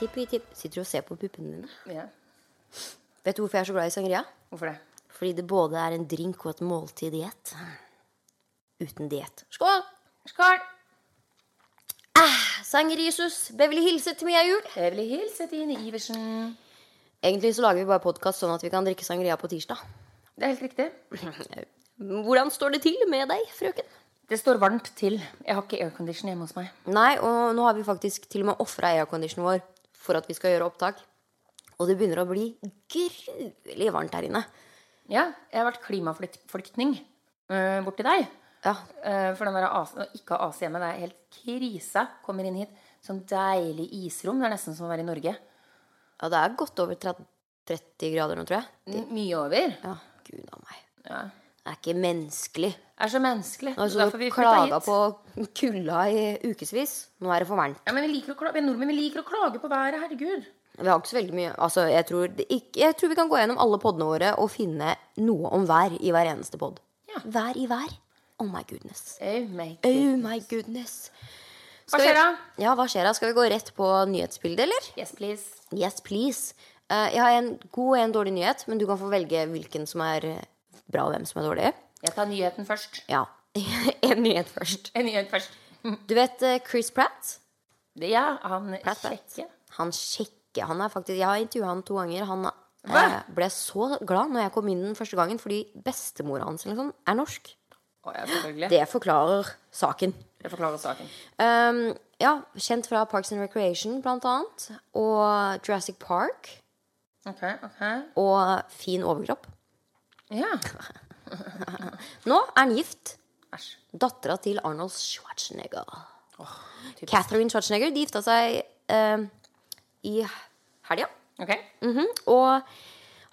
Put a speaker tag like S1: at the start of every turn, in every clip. S1: Tippi tipp sitter og ser på puppene dine.
S2: Ja.
S1: Vet du hvorfor jeg er så glad i sangria?
S2: Hvorfor det?
S1: Fordi det både er en drink og et måltid i ett. Uten diett. Skål!
S2: Skål!
S1: Sangrisus, Beverly hilse til Mia Jul.
S2: Jeg vil hilse Tine Iversen.
S1: Egentlig så lager vi bare podkast sånn at vi kan drikke sangria på tirsdag.
S2: Det er helt riktig.
S1: Hvordan står det til med deg, frøken?
S2: Det står varmt til. Jeg har ikke aircondition hjemme hos meg.
S1: Nei, og nå har vi faktisk til og med ofra airconditionen vår for at vi skal gjøre opptak. Og det begynner å bli gruelig varmt her inne.
S2: Ja, jeg har vært klimaflyktning øh, bort til deg.
S1: Ja,
S2: Eh, for den der AC, å ikke ha AC hjemme, det er helt krise. Kommer inn hit. Sånn deilig isrom. Det er nesten som å være i Norge.
S1: ja det er godt over 30 30 grader nå, tror jeg.
S2: N mye over.
S1: Ja, gud a meg.
S2: Ja.
S1: Det er ikke menneskelig.
S2: Er så menneskelig.
S1: Nå har
S2: Derfor
S1: vi
S2: vi flytta
S1: klaga
S2: hit.
S1: på kulda i ukevis. Nå er det for varmt.
S2: Ja, men vi, liker å klage, vi nordmenn vi liker å klage på været. Herregud.
S1: Vi har ikke så veldig mye Altså, jeg tror, det ikke, jeg tror vi kan gå gjennom alle podene våre og finne noe om vær i hver eneste pod.
S2: Ja.
S1: Vær i vær. Oh my goodness.
S2: Oh my God.
S1: Oh my goodness.
S2: Hva
S1: Skal vi-
S2: skjer da?
S1: Ja, hva skjer da? Skal vi gå rett på nyhetsbildet, eller?
S2: Yes, please.
S1: Yes, please. Eh, jeg har en god og en dårlig nyhet, men du kan få velge hvilken som er eh, bra, og hvem som er dårlig.
S2: Jeg tar nyheten først.
S1: Ja. en nyhet først.
S2: En nyhet først.
S1: Du vet eh, Chris Pratt?
S2: Det- Ja, han
S1: Pratt, Pratt.
S2: kjekke.
S1: Han sjekker. Han er faktisk, jeg har intervjua han to ganger. Han
S2: Hva?
S1: eh, ble så glad når jeg kom inn den første gangen, fordi bestemora hans eller sånn, er norsk.
S2: Å ja, selvfølgelig.
S1: Det forklarer saken.
S2: Jeg forklarer saken.
S1: Um, ja, kjent fra Parks and Recreation, blant annet. Og Jurassic Park.
S2: Ok, ok.
S1: Og fin overkropp.
S2: Ja.
S1: Nå er han gift.
S2: Æsj.
S1: Dattera til Arnold Schwarzenegger.
S2: typisk.
S1: Catherine Schwarzenegger. De gifta seg um, i helga.
S2: Ok.
S1: Mhm. Og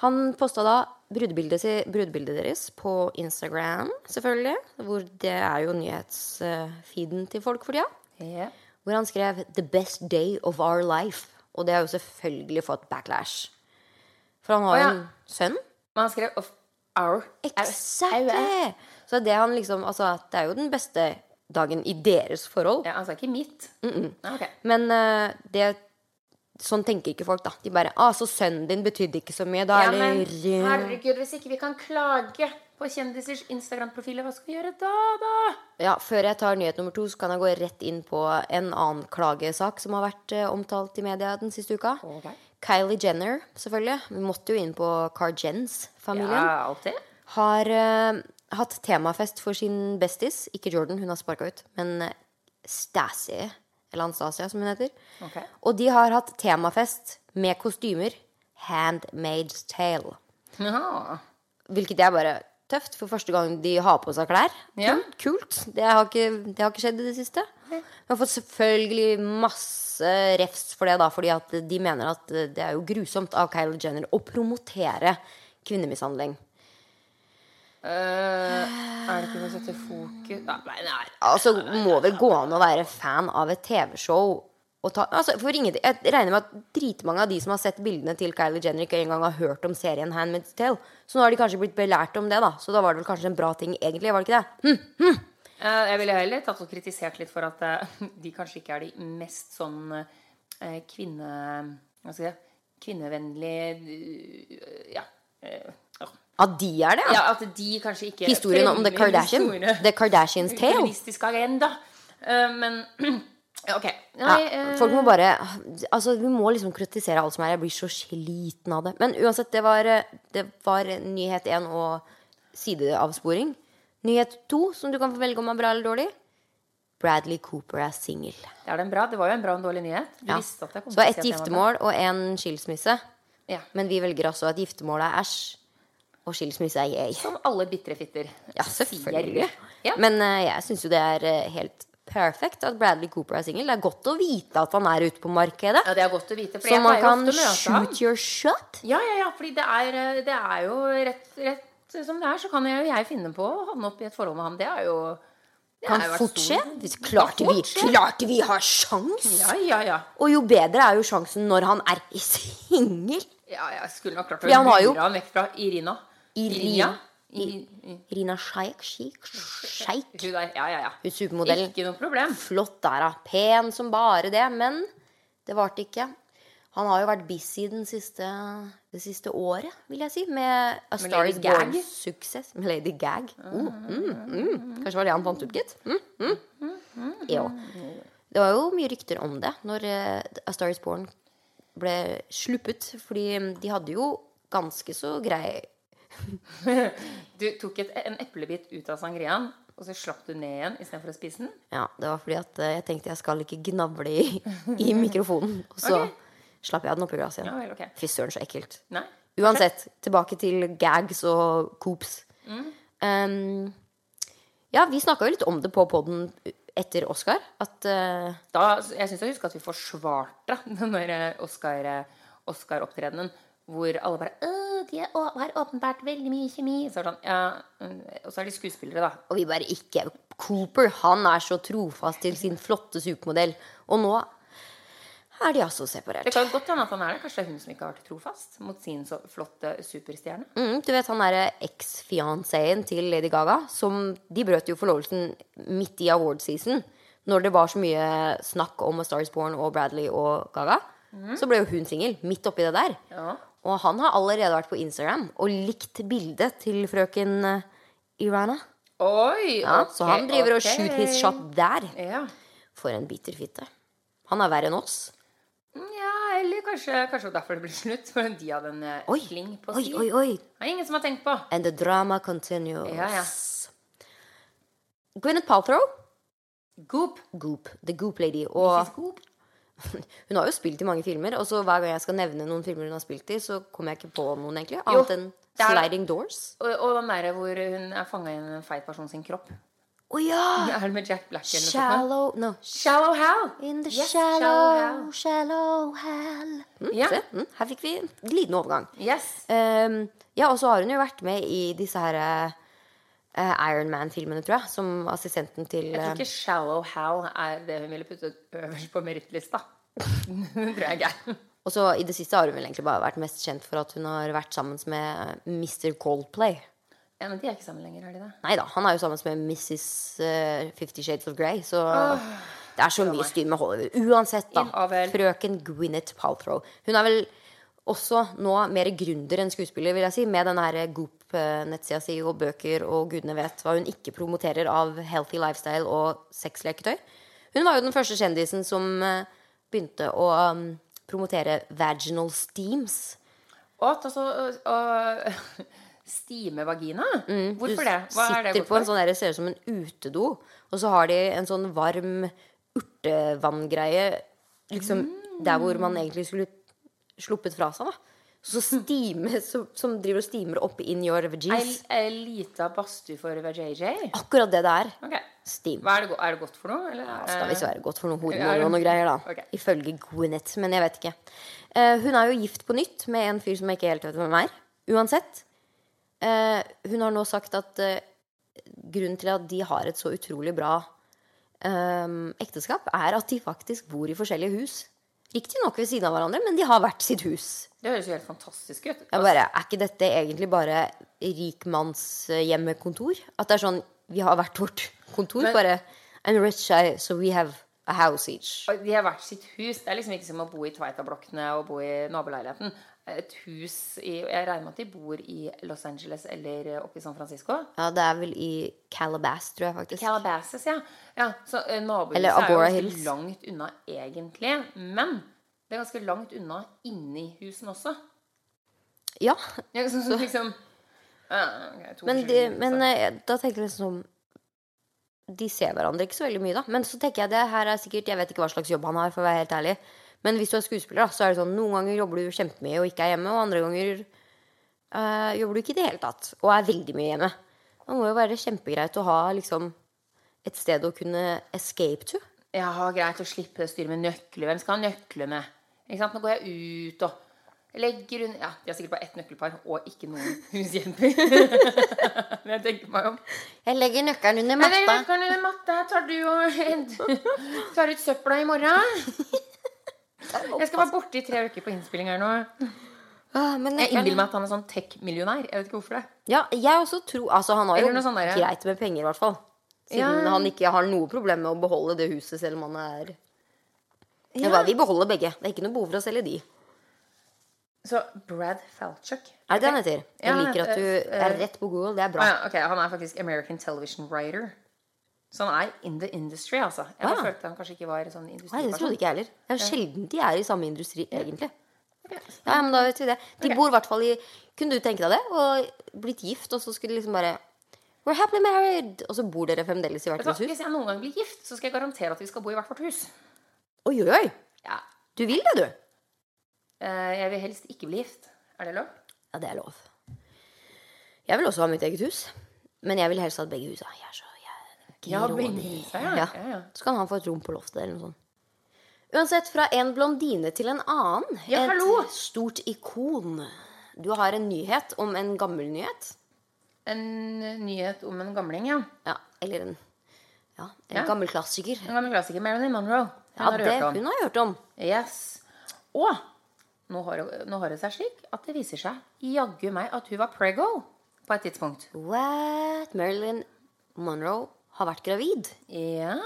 S1: han posta da brudebildet, si, brudebildet deres på Instagram, selvfølgelig. Hvor det er jo nyhetsfeeden til folk for tida.
S2: Ja.
S1: Hvor han skrev 'The best day of our life'. Og det har jo selvfølgelig fått backlash. For han har
S2: Å,
S1: jo
S2: ja.
S1: en sønn.
S2: Men han skrev of our
S1: Exactly! Så det han liksom Altså, det er jo den beste dagen i deres forhold.
S2: Ja, han sa ikke mitt. Ja, ok.
S1: Men eh, det Sånn tenker ikke folk, da. De bare ah, 'Så sønnen din betydde ikke så mye, da er
S2: Ja, men
S1: det rød.
S2: herregud, hvis ikke vi kan klage på kjendisers Instagram-profiler, hva skal vi gjøre da, da?
S1: Ja, Før jeg tar nyhet nummer to, så kan jeg gå rett inn på en annen klagesak som har vært eh, omtalt i media den siste uka.
S2: Ok.
S1: Kylie Jenner, selvfølgelig. Vi måtte jo inn på Carjens-familien.
S2: Ja, alltid.
S1: Har eh, hatt temafest for sin bestis. Ikke Jordan, hun har sparka ut. Men eh, Stasi, eller Anastasia, som hun heter.
S2: Ok.
S1: Og de har hatt temafest med kostymer. Handmaid's Tale.
S2: Ja.
S1: Hvilket er bare tøft, for første gang de har på seg klær.
S2: Ja.
S1: Kult, Kult. Det har, ikke, det har ikke skjedd i det siste. Man har fått selvfølgelig masse refs for det, da, fordi at de mener at det er jo grusomt av Kylie Jenner å promotere kvinnemishandling.
S2: Eh, er det ikke noe å sette fokus Nei, nei, nei.
S1: Altså, må vel gå an å være fan av et TV-show og ta altså, For ingenting. Jeg regner med at dritmange av de som har sett bildene til Kylie Jenner, ikke engang har hørt om serien Handmaid's Tale. Så nå har de kanskje blitt belært om det, da. Så da var det vel kanskje en bra ting, egentlig. Var det ikke det? Hm,
S2: Eh, Jeg ville heller tatt og kritisert litt for at eh, de kanskje ikke er de mest sånn eh, kvinne... Hva skal jeg si? Kvinnevennlige eh, Ja. eh, åh.
S1: At de er det? altså.
S2: ja. At de kanskje ikke
S1: Historien om The
S2: fremmer
S1: Kardashian.
S2: historiene.
S1: The Kardashians Tale.
S2: Feministisk agenda. Eh, Men ja, OK. Nei,
S1: Ja,
S2: eh,
S1: folk må bare Altså, vi må liksom kritisere alt som er. Jeg blir så sliten av det. Men uansett, det var, eh, det var nyhet én og sideavsporing. Nyhet to, som du kan få velge om er bra eller dårlig. Bradley Cooper er singel.
S2: det, er den bra. det var jo en bra og en dårlig nyhet. Du
S1: Ja.
S2: visste at jeg kom
S1: Så
S2: til å
S1: ett
S2: si at den var bra.
S1: giftermål og én skilsmisse.
S2: Ja.
S1: Men vi velger altså at giftermål er æsj, og skilsmisse er yay.
S2: Som alle bitre fitter.
S1: Ja, selvfølgelig.
S2: Ja.
S1: Men eh, jeg syns jo det er eh, helt perfekt at Bradley Cooper er singel. Det er godt å vite at han er ute på markedet.
S2: Ja, det er godt å vite. For
S1: Så
S2: jeg
S1: man
S2: pleier jo
S1: kan
S2: ofte å møte ham.
S1: shoot your shot.
S2: Ja, ja, ja, fordi det er, eh, det er jo rett, rett som det er, så kan jeg, jeg finne på å havne opp i et forhold med ham. Det er jo det
S1: Kan
S2: er jo vært
S1: fort
S2: stor-
S1: skje. Klarte
S2: Kan
S1: vi,
S2: fort skje.
S1: klarte vi har sjans!
S2: Ja, ja, ja.
S1: Og jo bedre er jo sjansen når han er singel.
S2: ja jeg skulle nok klart å
S1: Fordi han har
S2: lure
S1: jo-
S2: ham vekk fra Irina.
S1: Irina?
S2: I, i,
S1: Rina Shaik, Sheik, Sheik.
S2: hun der. Ja, ja, ja.
S1: Hun supermodellen.
S2: Ikke noe problem.
S1: Flott der, da. Pen som bare det. Men det varte ikke. Han har jo vært busy den siste, det siste året, vil jeg si. Med A
S2: Med
S1: Star
S2: Lady
S1: Is
S2: Gag.
S1: Born-suksess. Med Lady Gag. Oh, mm, mm. Kanskje var det han fant opp, gitt. Mm, mm. Jo. Det var jo mye rykter om det når eh, A Star Is Born ble sluppet. Fordi mm, de hadde jo ganske så grei
S2: Du tok et, en eplebit ut av sangriaen, og så slapp du ned igjen istedenfor å spise den.
S1: Ja, det var fordi at eh, jeg tenkte jeg skal ikke gnavle i, i mikrofonen. Og så
S2: Ok.
S1: slapp jeg den oppi glasset
S2: Ja
S1: igjen.
S2: vel, ok.
S1: Fy søren, så ekkelt.
S2: Nei.
S1: Uansett, tilbake til gags og coops. Um, ja, vi snakka jo litt om det på poden etter Oscar. At eh,
S2: Da, jeg syns jeg husker at vi forsvarte den der eh, Oscar- Oscar-opptredenen. hvor alle bare «Åh, de er, å- har åpenbart veldig mye kjemi. Så er det sånn, ja, mm, og så er de skuespillere, da.
S1: Og vi bare ikke Cooper, han er så trofast til sin flotte supermodell. Og nå er de altså
S2: Det
S1: separert.
S2: kan godt hende at han er det. Kanskje det er hun som ikke har vært trofast mot sin så flotte superstjerne.
S1: Mm, du vet han derre eks-fianceen til Lady Gaga, som de brøt jo forlovelsen midt i award season. Når det var så mye snakk om A Star Is Born og Bradley og Gaga, så ble jo hun singel midt oppi det der.
S2: Ja.
S1: Og han har allerede vært på Instagram og likt bildet til frøken eh, Irana.
S2: Oi!
S1: Ja,
S2: ok,
S1: så han driver
S2: ok.
S1: og shoot his shot der.
S2: Ja.
S1: For en bitter fitte. Han er verre enn oss.
S2: Mm, Ja, eller kanskje, kanskje derfor det ble slutt. For de hadde en eh,
S1: Oi,
S2: kling på
S1: oi,
S2: si.
S1: oi, oi.
S2: Det er ingen som har tenkt på.
S1: And the drama continues.
S2: Ja, ja.
S1: Gwyneth Paltrow,
S2: Goop.
S1: Goop, The Goop Lady.
S2: Mrs.
S1: Og
S2: Goop.
S1: hun har jo spilt i mange filmer, og så hver gang jeg skal nevne noen filmer hun har spilt i, så kommer jeg ikke på noen, egentlig.
S2: Jo,
S1: Annet enn
S2: det er-
S1: Sliding Doors.
S2: Og, og den derre hvor hun er fanga i en feit person sin kropp.
S1: Å ja!
S2: Er det med Jack Black eller noe sånt?
S1: Shallow No.
S2: Shallow Hal.
S1: In the
S2: Yes,
S1: shallow, shallow hell. Mm,
S2: Ja.
S1: se, mm, her fikk vi en liten overgang.
S2: Yes.
S1: Ehm, ja, og så har hun jo vært med i disse her eh, Iron Man-filmene, tror jeg. Som assistenten til
S2: Jeg
S1: eh,
S2: tror ikke Shallow Hal er det hun ville puttet øverst på merittlista. Det tror jeg ikke. er.
S1: eh, Og så i det siste har hun vel egentlig bare vært mest kjent for at hun har vært sammen med Mr. Coldplay.
S2: Ja, men de er ikke sammen lenger, er de det?
S1: Nei da, han er jo sammen med Mrs. eh, Fifty Shades of Grey, så Det er så mye styr med Hollywood. Uansett, da.
S2: Inn av vel.
S1: Frøken Gwyneth Paltrow. Hun er vel også nå mer gründer enn skuespiller, vil jeg si, med den her Goop-nettsida si og bøker og gudene vet hva hun ikke promoterer av healthy lifestyle og sexleketøy. Hun var jo den første kjendisen som eh, begynte å um, promotere vaginal steams.
S2: Og at altså å stime vagina? Hvorfor det? Hva
S1: sitter
S2: er det godt
S1: på en
S2: for?
S1: sånn der, ser ut som en utedo, og så har de en sånn varm urtevanngreie liksom, der hvor man egentlig skulle sluppet fra seg. da. Så stime, så, som driver og stimer opp in your
S2: Ei,
S1: veggies.
S2: ei lita badstue for JJ?
S1: Akkurat det det er.
S2: Ok.
S1: Steam.
S2: Hva er, det, go- er det godt for noe? Eller?
S1: Skal visst være godt for noen
S2: er
S1: hodemorer
S2: det-
S1: og noen greier, da.
S2: Ok.
S1: Ifølge Gwyneth, men jeg vet ikke. Eh, hun er jo gift på nytt med en fyr som jeg ikke helt vet hvem er. Uansett. Eh, hun har nå sagt at eh, grunnen til at de har et så utrolig bra ehm, ekteskap, er at de faktisk bor i forskjellige hus. Riktignok ved siden av hverandre, men de har hvert sitt hus.
S2: Det høres jo helt fantastisk ut.
S1: Jeg bare, er ikke dette egentlig bare rikmannshjemmekontor? At det er sånn Vi har hvert vårt kontor,
S2: Men-
S1: bare I'm rich, I, so we have a house each.
S2: Og De har hvert sitt hus. Det er liksom ikke som å bo i Tveita-blokkene og bo i naboleiligheten. Et hus i Jeg regner med at de bor i Los Angeles eller eh, oppe i San Francisco.
S1: Ja, det er vel i Calabas, tror jeg faktisk.
S2: Calabasas, ja. ja så eh, nabohuset
S1: Eller
S2: er jo
S1: Agora
S2: ganske
S1: Hills.
S2: langt unna egentlig. Men det er ganske langt unna inni husene også.
S1: Ja,
S2: Ja, så, så, liksom, ja, ok, to
S1: men, de,
S2: forskjellige hus,
S1: men
S2: da.
S1: eh, da tenker jeg liksom De ser hverandre ikke så veldig mye, da. Men så tenker jeg det her er sikkert Jeg vet ikke hva slags jobb han har, for å være helt ærlig. Men hvis du er skuespiller, da, så er det sånn noen ganger jobber du kjempemye og ikke er hjemme, og andre ganger eh, jobber du ikke i det hele tatt og er veldig mye hjemme. Det må jo være kjempegreit å ha liksom et sted å kunne escape to.
S2: Ja, greit å slippe å styre med nøkler. Hvem skal ha nøklene? Ikke sant? Nå går jeg ut og legger unna Ja, de har sikkert bare ett nøkkelpar og ikke noen hushjelper. Men jeg tenker meg om.
S1: Jeg legger nøkkelen under
S2: Men
S1: matta.
S2: kan du matte her? Tar du og tar ut søpla i morgen? Jeg skal være borte i tre uker på innspilling her nå.
S1: Ah, men
S2: Jeg
S1: nøkkelen-
S2: innbiller meg at han er sånn tech-millionær. Jeg vet ikke hvorfor det.
S1: Ja, jeg også tror Altså, han har jo
S2: Eller noe sånt der, ja.
S1: greit med penger, i hvert fall. Siden
S2: Ja.
S1: han ikke har noe problem med å beholde det huset, selv om han er
S2: Ja.
S1: ja. Vi beholder begge. Det er ikke noe behov for å selge de.
S2: Så Brad Falchuk
S1: Er det det han heter? Jeg
S2: Ja,
S1: liker at du
S2: eh,
S1: er rett på Google. Det er
S2: Ah,
S1: bra.
S2: ja, ok, Han er faktisk American television writer. Så han er in the industry, altså. Jeg
S1: Ah.
S2: følte han kanskje ikke var sånn
S1: Nei, Det
S2: industriperson.
S1: trodde ikke jeg heller. Det er jo sjelden de er i samme industri, egentlig.
S2: Ja.
S1: Ja, ja, men da vet vi det. De
S2: Ok.
S1: bor i hvert fall i Kunne du tenke deg det? Og blitt gift, og så skulle de liksom bare We're happily married! Og så bor dere fremdeles i hvert
S2: Vet du hva,
S1: deres hus.
S2: Hvis jeg noen gang blir gift, så skal jeg garantere at vi skal bo i hvert vårt hus.
S1: Oi, oi, oi!
S2: Ja.
S1: Du vil det, du?
S2: Eh, Jeg vil helst ikke bli gift. Er det lov?
S1: Ja, det er lov. Jeg vil også ha mitt eget hus. Men jeg vil helst ha begge husa. Jeg er så jeg
S2: Ja,
S1: er
S2: begge
S1: grådig.
S2: husa, ja.
S1: Ja.
S2: Ja, ja.
S1: Så kan han få et rom på loftet eller noe sånt. Uansett, fra en blondine til en annen.
S2: Ja,
S1: et
S2: hallo!
S1: stort ikon. Du har en nyhet om en gammel nyhet.
S2: En nyhet om en gamling, ja.
S1: Ja, eller en, ja, en
S2: Ja.
S1: gammel klassiker.
S2: En gammel klassiker. Marilyn Monroe. Hun
S1: Ja,
S2: har
S1: det
S2: hørt om.
S1: hun har hørt om.
S2: Yes. Og nå har, nå har det seg slik at det viser seg jaggu meg at hun var prego på et tidspunkt.
S1: What? Marilyn Monroe har vært gravid.
S2: Ja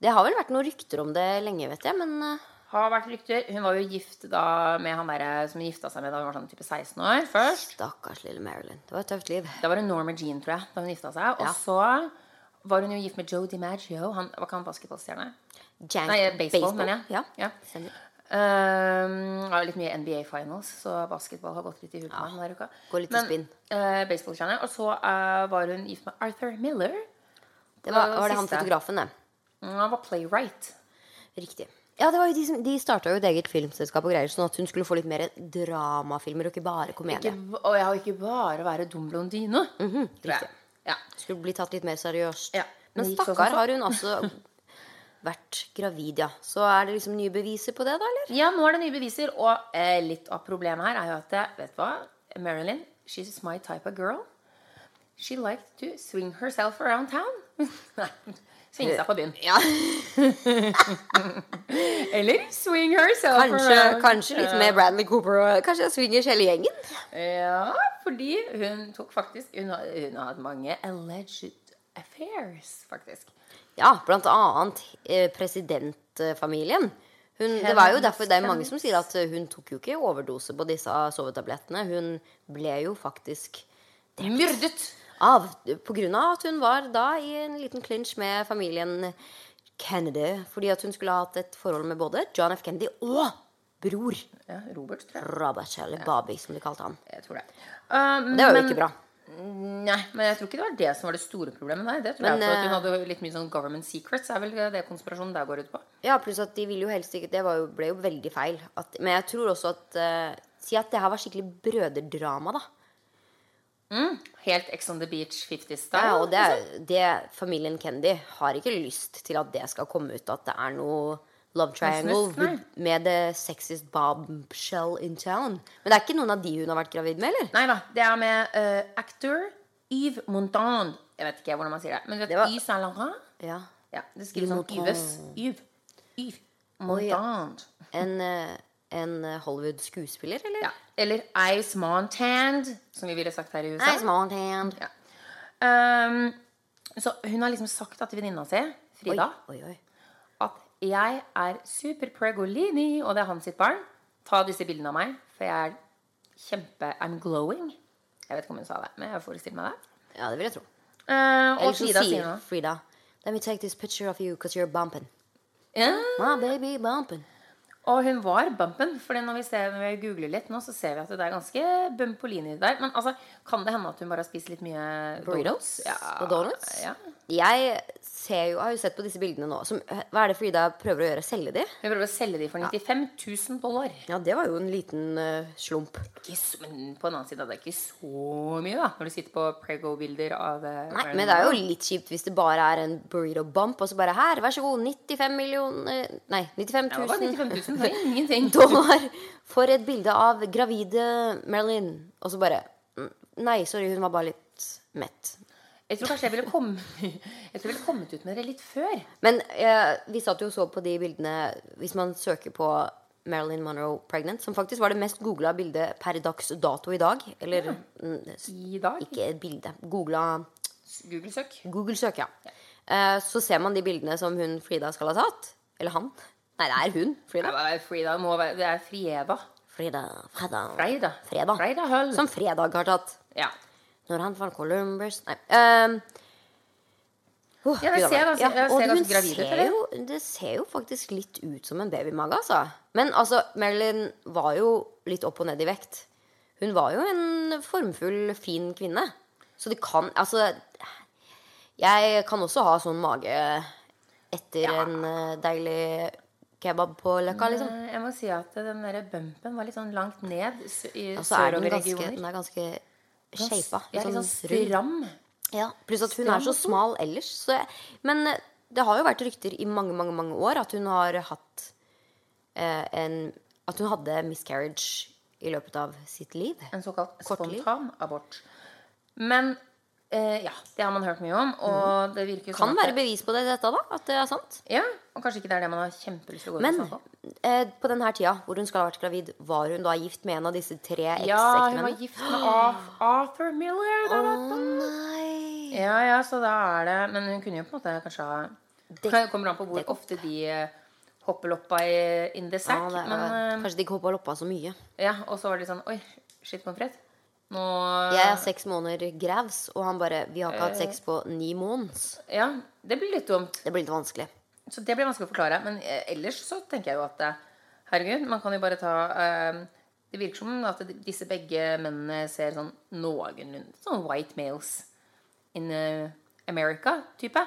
S1: Det har vel vært noen rykter om det lenge, vet jeg, men eh,
S2: Har vært rykter. Hun var jo gift da med han der som gifta seg med da hun var sånn type 16 år først.
S1: stakkars lille Marilyn. Det var et tøft liv.
S2: Da var det Norma Jean, tror jeg, da hun gifta seg. Og
S1: Ja.
S2: så var hun jo gift med Joe DiMaggio. Han, var ikke han basketballstjerne?
S1: Jank-
S2: Nei, baseball, mener jeg.
S1: Ja.
S2: Ja.
S1: stemmer.
S2: Ehm, det var litt mye NBA Finals, så basketball har gått litt i huet på meg denne uka.
S1: går litt i
S2: Men,
S1: spinn.
S2: eh, baseballstjerne. Og så eh, var hun gift med Arthur Miller.
S1: Det var,
S2: Det var
S1: var det han
S2: siste.
S1: fotografen, det.
S2: Mm, Han var playwright.
S1: Riktig. Ja, det var jo De, som- de starta jo et eget filmselskap og greier, sånn at hun skulle få litt mer dramafilmer og ikke bare komedie.
S2: Ikke, b- og jeg har ikke bare være dum blondine.
S1: Mhm,
S2: tror jeg. ja.
S1: Skulle bli tatt litt mer seriøst.
S2: Ja,
S1: Men
S2: men det gikk så som
S1: stakkar,
S2: så.
S1: har hun altså vært gravid, ja. Så er det liksom nye beviser på det, da, eller?
S2: ja, nå er det nye beviser, og eh, litt av problemet her er jo at jeg, Vet du hva? Marilyn, she's my type of girl. She liked to swing herself around town. Nei, svinge seg på byen.
S1: Ja,
S2: Eller swing herself
S1: Kanskje,
S2: around.
S1: kanskje litt med Bradley Cooper og Kanskje jeg swinger hele gjengen?
S2: Ja, fordi hun tok faktisk Hun har, hun har hatt mange alleged affairs, faktisk.
S1: Ja, blant annet eh, presidentfamilien. Hun, det var jo derfor det er mange som sier at eh, hun tok jo ikke overdose på disse sovetablettene. Hun ble jo faktisk
S2: Myrdet!
S1: av på grunn av at hun var da i en liten clinch med familien Kennedy. Fordi at hun skulle ha hatt et forhold med både John F. Kennedy og bror
S2: Ja, Robert, tror jeg.
S1: Robert, eller Babi, som de kalte han.
S2: Jeg tror det. Uh,
S1: Det var jo ikke bra.
S2: Nei, men jeg tror ikke det var det som var det store problemet. Nei, det tror
S1: Men,
S2: jeg for at Hun
S1: eh,
S2: hadde jo litt mye sånn government secrets. Er vel det konspirasjonen der går ut på?
S1: Ja, pluss at de ville jo helst ikke Det var jo, ble jo veldig feil. At, men jeg tror også at eh, Si at det her var skikkelig brødredrama, da.
S2: Mm. Helt Ex on the Beach 50 style.
S1: Ja, og det,
S2: liksom.
S1: er- det Familien Kennedy har ikke lyst til at det skal komme ut at det er noe love triangle
S2: Snusk, nei.
S1: med the sexiest bombshell in town. Men det er ikke noen av de hun har vært gravid med, eller?
S2: Nei da. Det er med eh, actor Yves Montan. Jeg vet ikke hvordan man sier det. Men du vet
S1: Det var-
S2: Yves Saint Laurent?
S1: Ja.
S2: Ja, det skrives sånn
S1: Montan.
S2: Yves. Yves. Yves Montan.
S1: En, eh, en eh, Hollywood-skuespiller, eller?
S2: Ja. Eller Ice Montand, som vi ville sagt her i USA.
S1: Nei, smart hand.
S2: Ja. Ehm, så hun har liksom sagt til venninna si,
S1: Oi,
S2: Frida
S1: oi, oi.
S2: at jeg er super pregolini, og det er han sitt barn. Ta disse bildene av meg, for jeg er kjempe I'm glowing. Jeg vet ikke om hun sa det, men jeg forestiller meg det.
S1: Ja, det vil jeg tro.
S2: Eh, og
S1: Eller så
S2: Frida sier
S1: sier
S2: nå
S1: Frida Let me take this picture of you because you're bumping.
S2: ja.
S1: My baby bumping.
S2: Og hun var bumpen, for når vi, ser, når vi googler litt nå, så ser vi at det er ganske bumpolini der. Men altså, kan det hende at hun bare har spist litt mye
S1: Burritos
S2: donuts? Ja,
S1: og donuts?
S2: Ja.
S1: Jeg ser jo, har jo sett på disse bildene nå. Som, hva er det Frida prøver å gjøre? Selge de?
S2: Hun prøver å selge de for 95 000 dollar.
S1: Ja, det var jo en liten eh, slump.
S2: Ikke så, men på en annen side, det er ikke så mye, da. Når du sitter på prego-bilder av eh,
S1: Nei, Men det er jo litt kjipt hvis det bare er en burrito bump, og så bare her, vær så god, 95 millioner Nei, 95
S2: Det var bare
S1: 000
S2: 95 000 for ingenting.
S1: dollar for et bilde av gravide Marilyn. Og så bare mm, Nei, sorry, hun var bare litt mett.
S2: Jeg tror kanskje jeg ville, komme, jeg tror jeg ville kommet ut med det litt før.
S1: Men eh, vi satt jo og så på de bildene Hvis man søker på Marilyn Monroe pregnant, som faktisk var det mest googla bildet per dags dato i dag. Eller mm, s-
S2: I dag.
S1: ikke et bilde. Googla
S2: Google-søk.
S1: Google søker, ja. Eh, så ser man de bildene som hun Frida skal ha tatt. Eller han. Nei, det er hun. Frida.
S2: Frida må være Det er Frieva.
S1: Fredag, fredag,
S2: Freida.
S1: Fredag.
S2: Freida Høll.
S1: Som fredag har tatt.
S2: Ja.
S1: Når han fant Columbus Nei. ehm, åh,
S2: Ja, det
S1: Gud,
S2: ser
S1: Alma.
S2: ganske- det ser
S1: og hun
S2: ganske gravid ut,
S1: ser
S2: eller?
S1: jo- Det ser jo faktisk litt ut som en babymage, altså. Men altså, Marilyn var jo litt opp og ned i vekt. Hun var jo en formfull, fin kvinne. Så det kan Altså, jeg kan også ha sånn mage etter en eh, deilig kebab på Løkka, liksom.
S2: Eh, Jeg må si at den der bumpen var litt sånn langt ned s- i
S1: Og så er den
S2: sørover
S1: ganske, den
S2: regioner.
S1: er ganske shapa.
S2: Ja, litt sånn stram.
S1: Ja, Pluss at hun er så smal ellers. Så jeg, men eh, det har jo vært rykter i mange mange, mange år at hun har hatt eh, en At hun hadde miscarriage i løpet av sitt liv.
S2: En såkalt
S1: Kortliv.
S2: spontan abort. Men eh, ja, det har man hørt mye om, og det virker jo
S1: Mm. Kan
S2: sånn at
S1: være bevis på det, dette, da. At det er sant.
S2: Ja, og kanskje ikke det er det man har kjempelyst til å gå ut
S1: Men
S2: og snakke om.
S1: eh, på denne tida hvor hun skal ha vært gravid, var hun da gift med en av disse tre
S2: Ja, hun var
S1: eksekvennene?
S2: gift med Ar- Arthur Miller. Da, da, da.
S1: nei.
S2: Ja, ja, så da er det Men hun kunne jo på en måte kanskje ha Det kommer an på hvor ofte de eh, hopper loppa i, in the sack.
S1: Ja, det, er-
S2: men,
S1: kanskje de ikke hoppa loppa så mye.
S2: eh, ja, og så var det litt sånn Oi, shit, pommes frites. Nå
S1: Jeg er seks måneder grevs, og han bare Vi har ikke
S2: Eh.
S1: hatt sex på ni måneder.
S2: Ja, det blir litt dumt.
S1: Det blir litt vanskelig.
S2: Så det blir vanskelig å forklare. Men eh, ellers så tenker jeg jo at eh, herregud, man kan jo bare ta eh, Det virker som at de- disse begge mennene ser sånn noenlunde sånn white males in eh, America-type.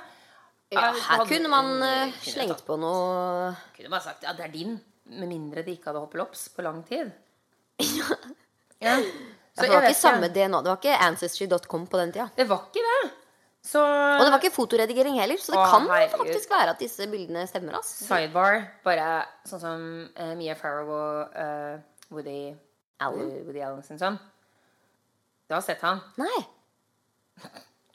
S1: Ja,
S2: Eh,
S1: her
S2: hadde-
S1: kunne man eh,
S2: kunne
S1: slengt
S2: tatt-
S1: på noe
S2: Kunne bare sagt ja, det er din. Med mindre de ikke hadde hoppelops på lang tid. ja.
S1: For
S2: Så
S1: Det
S2: jeg
S1: var
S2: vet
S1: ikke samme DNA. Det var ikke ancestry.com på den tida.
S2: Det var ikke det. Så
S1: Og det var ikke fotoredigering heller, så det
S2: Å,
S1: kan
S2: herregud.
S1: faktisk være at disse bildene stemmer. Ass.
S2: sidebar, bare sånn som eh, Mia Farrow og eh, Woody eh,
S1: Alan?
S2: Woody Allen sin sønn. Du har sett han.
S1: Nei.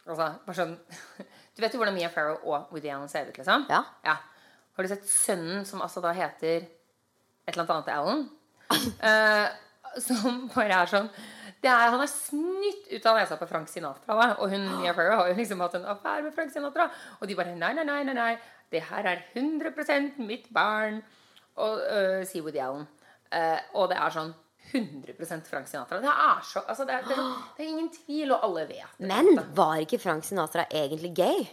S2: Altså, bare sånn Du vet jo hvordan Mia Farrow og Woody Allen ser ut, liksom?
S1: Ja.
S2: Har du sett sønnen, som altså da heter et eller annet annet Allen? Eh, som bare er sånn det er, Han er snytt ut av nesa på Frank Sinatra. Da. Og hun Mia Farrow har jo liksom hatt en affære med Frank Sinatra. Og de bare Nei, nei, nei, nei, nei. det her er 100 mitt barn. Og uh, sier Woody Allen. Eh, og det er sånn 100 Frank Sinatra. Det er så altså, det, er, det, er, sånn- det er ingen tvil, og alle vet det.
S1: Men var ikke Frank Sinatra egentlig gay?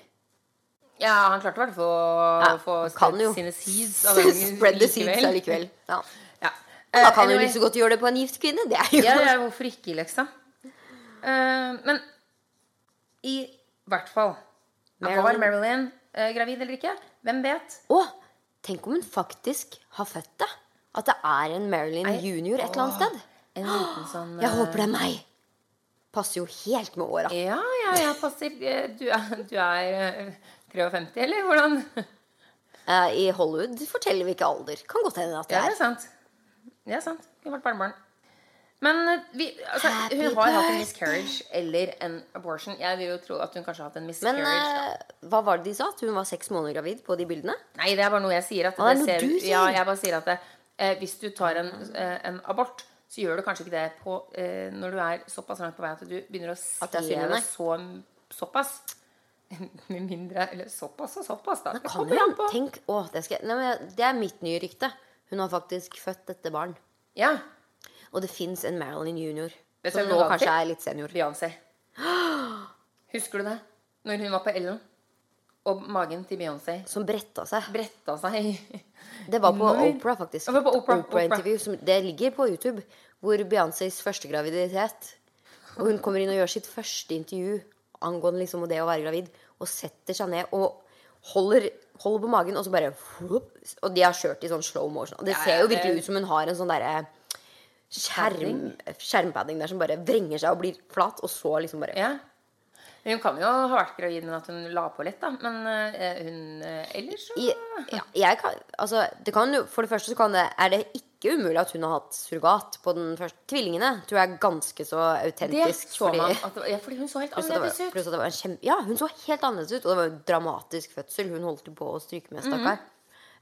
S2: Ja, han klarte i hvert fall å
S1: Ja,
S2: få
S1: han kan
S2: spredt
S1: jo.
S2: sine seeds. av den
S1: Spread the seeds allikevel. Ja.
S2: Ja.
S1: Da
S2: Eh,
S1: kan du
S2: anyway.
S1: like så godt gjøre det på en gift kvinne. Det er jo
S2: ja, ja, hvorfor ikke, liksom? Eh, men i hvert fall Var
S1: Marilyn.
S2: Marilyn eh, gravid eller ikke? Hvem vet?
S1: Å, tenk om hun faktisk har født det. At det er en Marilyn
S2: Nei.
S1: junior et eller annet sted.
S2: En liten sånn
S1: Jeg
S2: eh,
S1: håper det er meg. Passer jo helt med åra.
S2: Ja, ja, ja, passer. Eh, Du er, du er eh, 53, eller? Hvordan?
S1: Eh, I Hollywood forteller vi ikke alder. Kan godt hende at det
S2: Ja, det
S1: er.
S2: er sant. Det er sant. Hun ble barnebarn. Men eh, vi, altså,
S1: Happy
S2: hun har hatt en
S1: birthday.
S2: miscarriage eller en abortion. Jeg vil jo tro at hun kanskje har hatt en
S1: Men
S2: miscarriage. da.
S1: eh, hva var det de sa? At hun var seks måneder gravid på de bildene?
S2: Nei, det er bare noe jeg sier. At
S1: Ah, det er
S2: det
S1: noe du sier.
S2: Ja, jeg bare sier at det, eh, hvis du tar en, eh, en abort, så gjør du kanskje ikke det på, eh, når du er såpass langt på vei at du begynner å se
S1: At det er synlig, nei.
S2: det så, såpass. Med mindre Eller såpass og såpass, da. Det
S1: Kan
S2: kommer an
S1: hun?
S2: på.
S1: Tenk, å, det, skal, jeg- nei, men det er mitt nye rykte. Hun har faktisk født dette barn.
S2: Ja.
S1: Og det fins en Marilyn junior.
S2: Vet du
S1: Som
S2: hvem
S1: nå
S2: hun var
S1: kanskje
S2: til?
S1: er litt senior.
S2: Beyoncé. Husker du det? Når hun var på Ellen, og magen til Beyoncé
S1: Som bretta seg.
S2: bretta seg.
S1: Det var på
S2: Når?
S1: Opera, faktisk.
S2: Det var på
S1: Et
S2: Oprah,
S1: Oprah-interview som- Det ligger på YouTube. Hvor Beyoncés første graviditet Og hun kommer inn og gjør sitt første intervju angående liksom det å være gravid, og setter seg ned og holder, holder på magen, og så bare whoop, Og de har kjørt i sånn slow motion. Og det
S2: Ja,
S1: ser
S2: ja,
S1: jo
S2: det-
S1: virkelig ut som hun har en sånn derre skjerm, skjermpadding der som bare vrenger seg og blir flat, og så liksom bare
S2: Ja. Hun kan jo ha vært gravid, men at hun la på litt, da. Men eh, hun eh, ellers så
S1: I, ja, jeg kan, altså, det kan jo, for det første så kan det, er det ikke umulig at hun har hatt surrogat på den første. Tvillingene tror jeg er ganske så
S2: Det
S1: autentisk.
S2: så man. At, det var- ja, fordi hun så helt
S1: pluss at det var,
S2: annerledes ut.
S1: pluss at det var en kjempe, ja, hun så helt annerledes ut, og det var en dramatisk fødsel. Hun holdt jo på å stryke med, stakkar.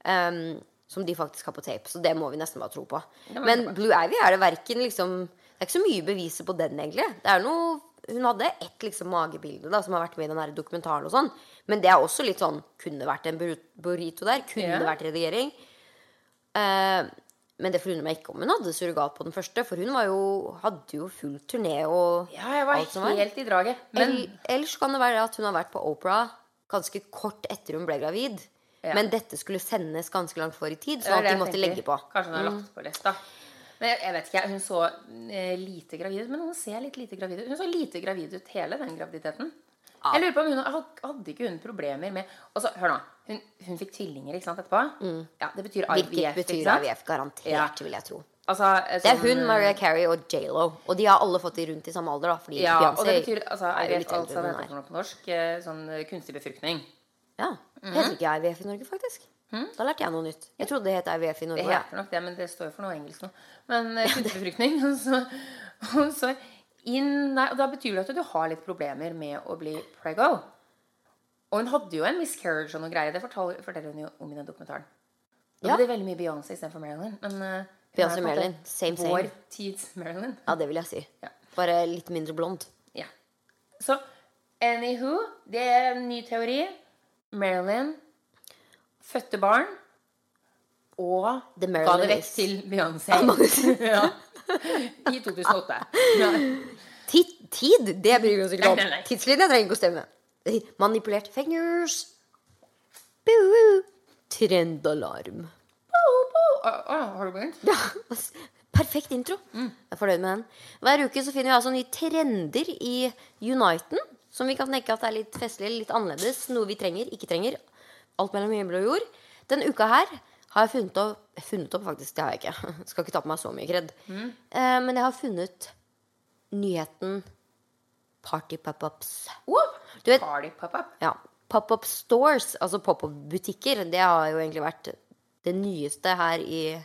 S1: Em, som de faktisk har på tape, så det må vi nesten bare tro på.
S2: må vi tro
S1: Men Blue Ivy er det verken liksom Det er ikke så mye beviser på den, egentlig. Det er noe, hun hadde ett liksom magebilde da, som har vært med i den her dokumentaren, og sånn men det er også litt sånn Kunne vært en burrito der. Kunne
S2: Ja.
S1: vært redigering. Eh, Men det forundrer meg ikke om hun hadde surrogat på den første, for hun var jo, hadde jo full turné og
S2: Ja, jeg var
S1: Alt som var.
S2: helt i draget. Men
S1: El- Ellers kan det være at hun har vært på Opera ganske kort etter hun ble gravid.
S2: Ja.
S1: Men dette skulle sendes ganske langt for i tid,
S2: Det var
S1: sånn at de
S2: det jeg
S1: måtte
S2: tenker.
S1: legge
S2: Mm.
S1: på.
S2: Kanskje hun har lagt på litt, da. Men jeg, jeg vet ikke, Hun så eh, lite gravid ut, men hun ser litt lite gravid ut. Hun så lite gravid ut hele den graviditeten.
S1: Ja.
S2: Jeg lurer på om hun had- Hadde ikke hun problemer med Og så, Hør nå. Hun, hun fikk tvillinger ikke sant, etterpå. Ja, Det betyr
S1: Mm.
S2: IVF.
S1: Hvilket
S2: ikke
S1: betyr
S2: sant?
S1: AVF garantert,
S2: Ja.
S1: vil jeg tro.
S2: Altså, eh,
S1: Det er
S2: sånn,
S1: hun, Mariah Carey og J.Lo. Og de har alle fått de rundt i samme alder, da. Fordi
S2: Ja, og
S1: Beyoncé
S2: det betyr altså,
S1: er jo
S2: IVF,
S1: litt eldre
S2: altså,
S1: enn
S2: hva
S1: hun
S2: heter det for noe på norsk, eh, sånn eh, kunstig befruktning.
S1: Ja.
S2: Mm.
S1: Heter ikke IVF i Norge, faktisk. Da lærte jeg noe nytt. Jeg trodde det het IVF i
S2: Det
S1: Norge. ja.
S2: heter nok det, men det står jo for noe engelsk nå. Men eh, kunstig befruktning. Og så, og så inn der. Og da betyr det at du har litt problemer med å bli prego. Og hun hadde jo en miscarriage og noe greier. Det fortal- forteller hun jo om i den dokumentaren. Nå
S1: Ja.
S2: ble det veldig mye Beyoncé istedenfor Marilyn. Men eh, hun
S1: Beyoncé
S2: er på en måte
S1: Marilyn, same, same.
S2: Vår tids Marilyn.
S1: Ja, det vil jeg si.
S2: Ja.
S1: Bare litt mindre blond.
S2: Ja. Så anywho, det er en ny teori. Marilyn fødte barn og
S1: The
S2: ga det
S1: Marilyn
S2: vekk
S1: is-
S2: til Beyoncé. ja. I 2008. Ja.
S1: Tid, tid det bryr vi oss ikke om.
S2: Nei, nei, nei.
S1: Tidslinja trenger ikke å stemme. Manipulert fingers. Boo. Trendalarm.
S2: Å, å, har du begynt?
S1: Ja, ass. perfekt intro. Jeg er fornøyd med den. Hver uke så finner vi altså nye trender i Uniten. Som vi kan tenke at er litt festlig, litt annerledes. Noe vi trenger, ikke trenger. Alt mellom himmel og jord. Den uka her har jeg funnet opp Funnet opp, faktisk. Det har jeg ikke. Skal ikke ta på meg så mye kred. Eh, men jeg har funnet nyheten Party pop-ups.
S2: Oh,
S1: Du vet-
S2: Party pop-up.
S1: Ja, pop-up stores, altså pop-up-butikker, det har jo egentlig vært det nyeste her i i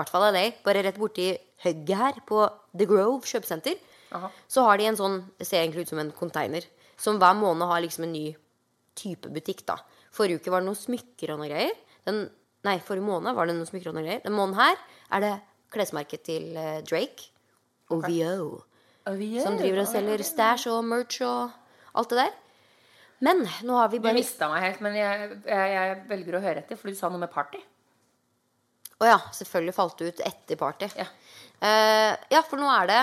S1: hvert fall LA. Bare rett borti hugget her, på The Grove kjøpesenter,
S2: Aha.
S1: så har de en sånn Det ser egentlig ut som en container. Som hver måned har liksom en ny type butikk, da. Forrige uke var det noen smykker og noe greier. Den, nei, forrige måned var det noen smykker og noe greier. Den måneden her er det klesmerket til eh, Drake. OVO. Som driver og selger stæsj og merch og alt det der. Men nå har vi
S2: Du
S1: bare
S2: mista meg helt, men jeg, jeg, jeg velger å høre etter, for du sa noe med party.
S1: Å ja, selvfølgelig falt det ut etter party.
S2: Ja.
S1: Eh, ja, for nå er det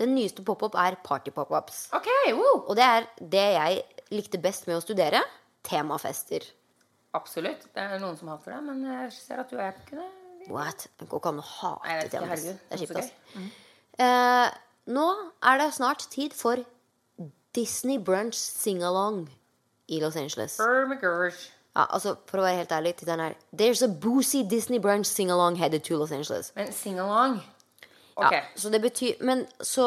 S1: Den nyeste pop-up er party pop-ups.
S2: Ok, wow.
S1: Og det er det jeg likte best med å studere. Temafester.
S2: Absolutt. Det er noen som hater det, men jeg ser at du og jeg kunne
S1: What? Det går ikke an å
S2: Nei, jeg
S1: hate
S2: vet ikke,
S1: temafest.
S2: herregud. Mm.
S1: Det er
S2: Så
S1: kjipt,
S2: gøy.
S1: altså. Eh, nå er det snart tid for Disney Brunch Sing-Along i Los Angeles.
S2: Burmagers.
S1: Ja, altså, for å være helt ærlig, tittelen er There's a boozy Disney brunch sing-along headed to Los Angeles.
S2: Men sing-along Ok.
S1: Ja, så det betyr Men så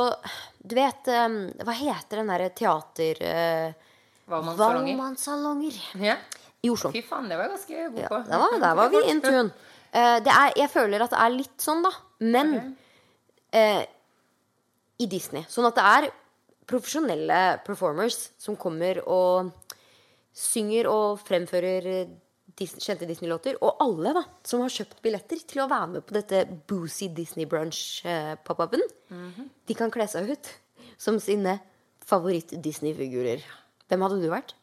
S1: Du vet em, Hva heter den derre teater... Uh,
S2: Valmannssalonger.
S1: Valmannssalonger
S2: Ja.
S1: i Oslo.
S2: Fy faen, det var jeg ganske god
S1: Ja,
S2: på.
S1: der, var, der var vi in tune. Eh, det er, jeg føler at det er litt sånn, da. Men eh, i Disney. Sånn at det er profesjonelle performers som kommer og synger og fremfører eh, Dis kjente Disney-låter. Og alle da, som har kjøpt billetter til å være med på dette boozy Disney brunch-pop-upen, de kan kle seg ut som sine favoritt-Disney-figurer. Hvem hadde du vært?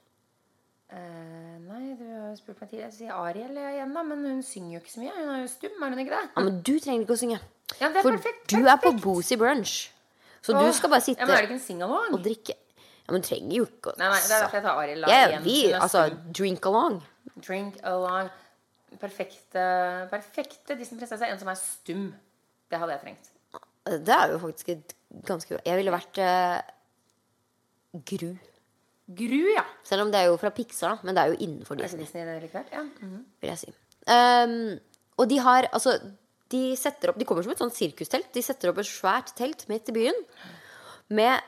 S2: Eh, nei, du har spurt meg tidligere. Jeg sier Ariel igjen, da. Men hun synger jo ikke så mye. Hun er jo stum, er hun ikke det?
S1: Ja, men du trenger ikke å synge.
S2: Ja, det er
S1: For
S2: perfekt,
S1: du er på Boozy Brunch. Så du
S2: Åh,
S1: skal bare sitte
S2: Ja, men er det ikke en sing-along?
S1: og drikke. Ja, men du trenger jo ikke å
S2: Nei, nei, det er derfor jeg tar Ariel. da,
S1: ja,
S2: igjen.
S1: vi,
S2: Hun er
S1: altså,
S2: stum.
S1: drink along.
S2: Drink along. Perfekte, perfekte Disney-prinsesse. En som er stum. Det hadde jeg trengt.
S1: Det er jo faktisk et ganske bra Jeg ville vært eh, Gru.
S2: Gru, ja.
S1: Selv om det er jo fra Pixar, da. Men det er jo innenfor
S2: Er
S1: Disney,
S2: det Disney det likevel? Ja. mhm.
S1: vil jeg si. Ehm, og de har altså De setter opp De kommer som et sånt sirkustelt. De setter opp et svært telt midt i byen. med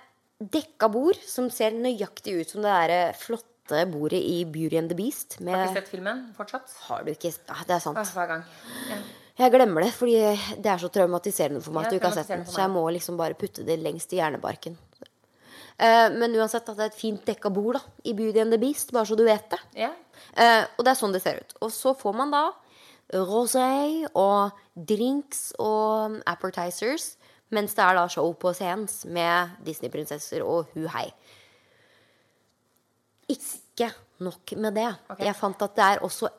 S1: dekka bord som ser nøyaktig ut som det der eh, flotte bordet i Beauty and the Beast.
S2: Har ikke
S1: Med,
S2: sett filmen fortsatt.
S1: har du ikke ah, Det er
S2: Åh,
S1: sant.
S2: Hver gang. Ja.
S1: Jeg glemmer det, fordi det er så traumatiserende for meg at
S2: Ja,
S1: du ikke har sett den.
S2: traumatiserende for
S1: Så jeg må liksom bare putte det lengst i hjernebarken. Eh, Men uansett at det er et fint dekka bord da i Beauty and the Beast, bare så du vet det.
S2: ja.
S1: Eh, og det er sånn det ser ut. Og så får man da rosé og drinks og appetizers, mens det er da show på scenen med Disney-prinsesser og hu hei. Ikke nok med det.
S2: Ok.
S1: Jeg fant at det er også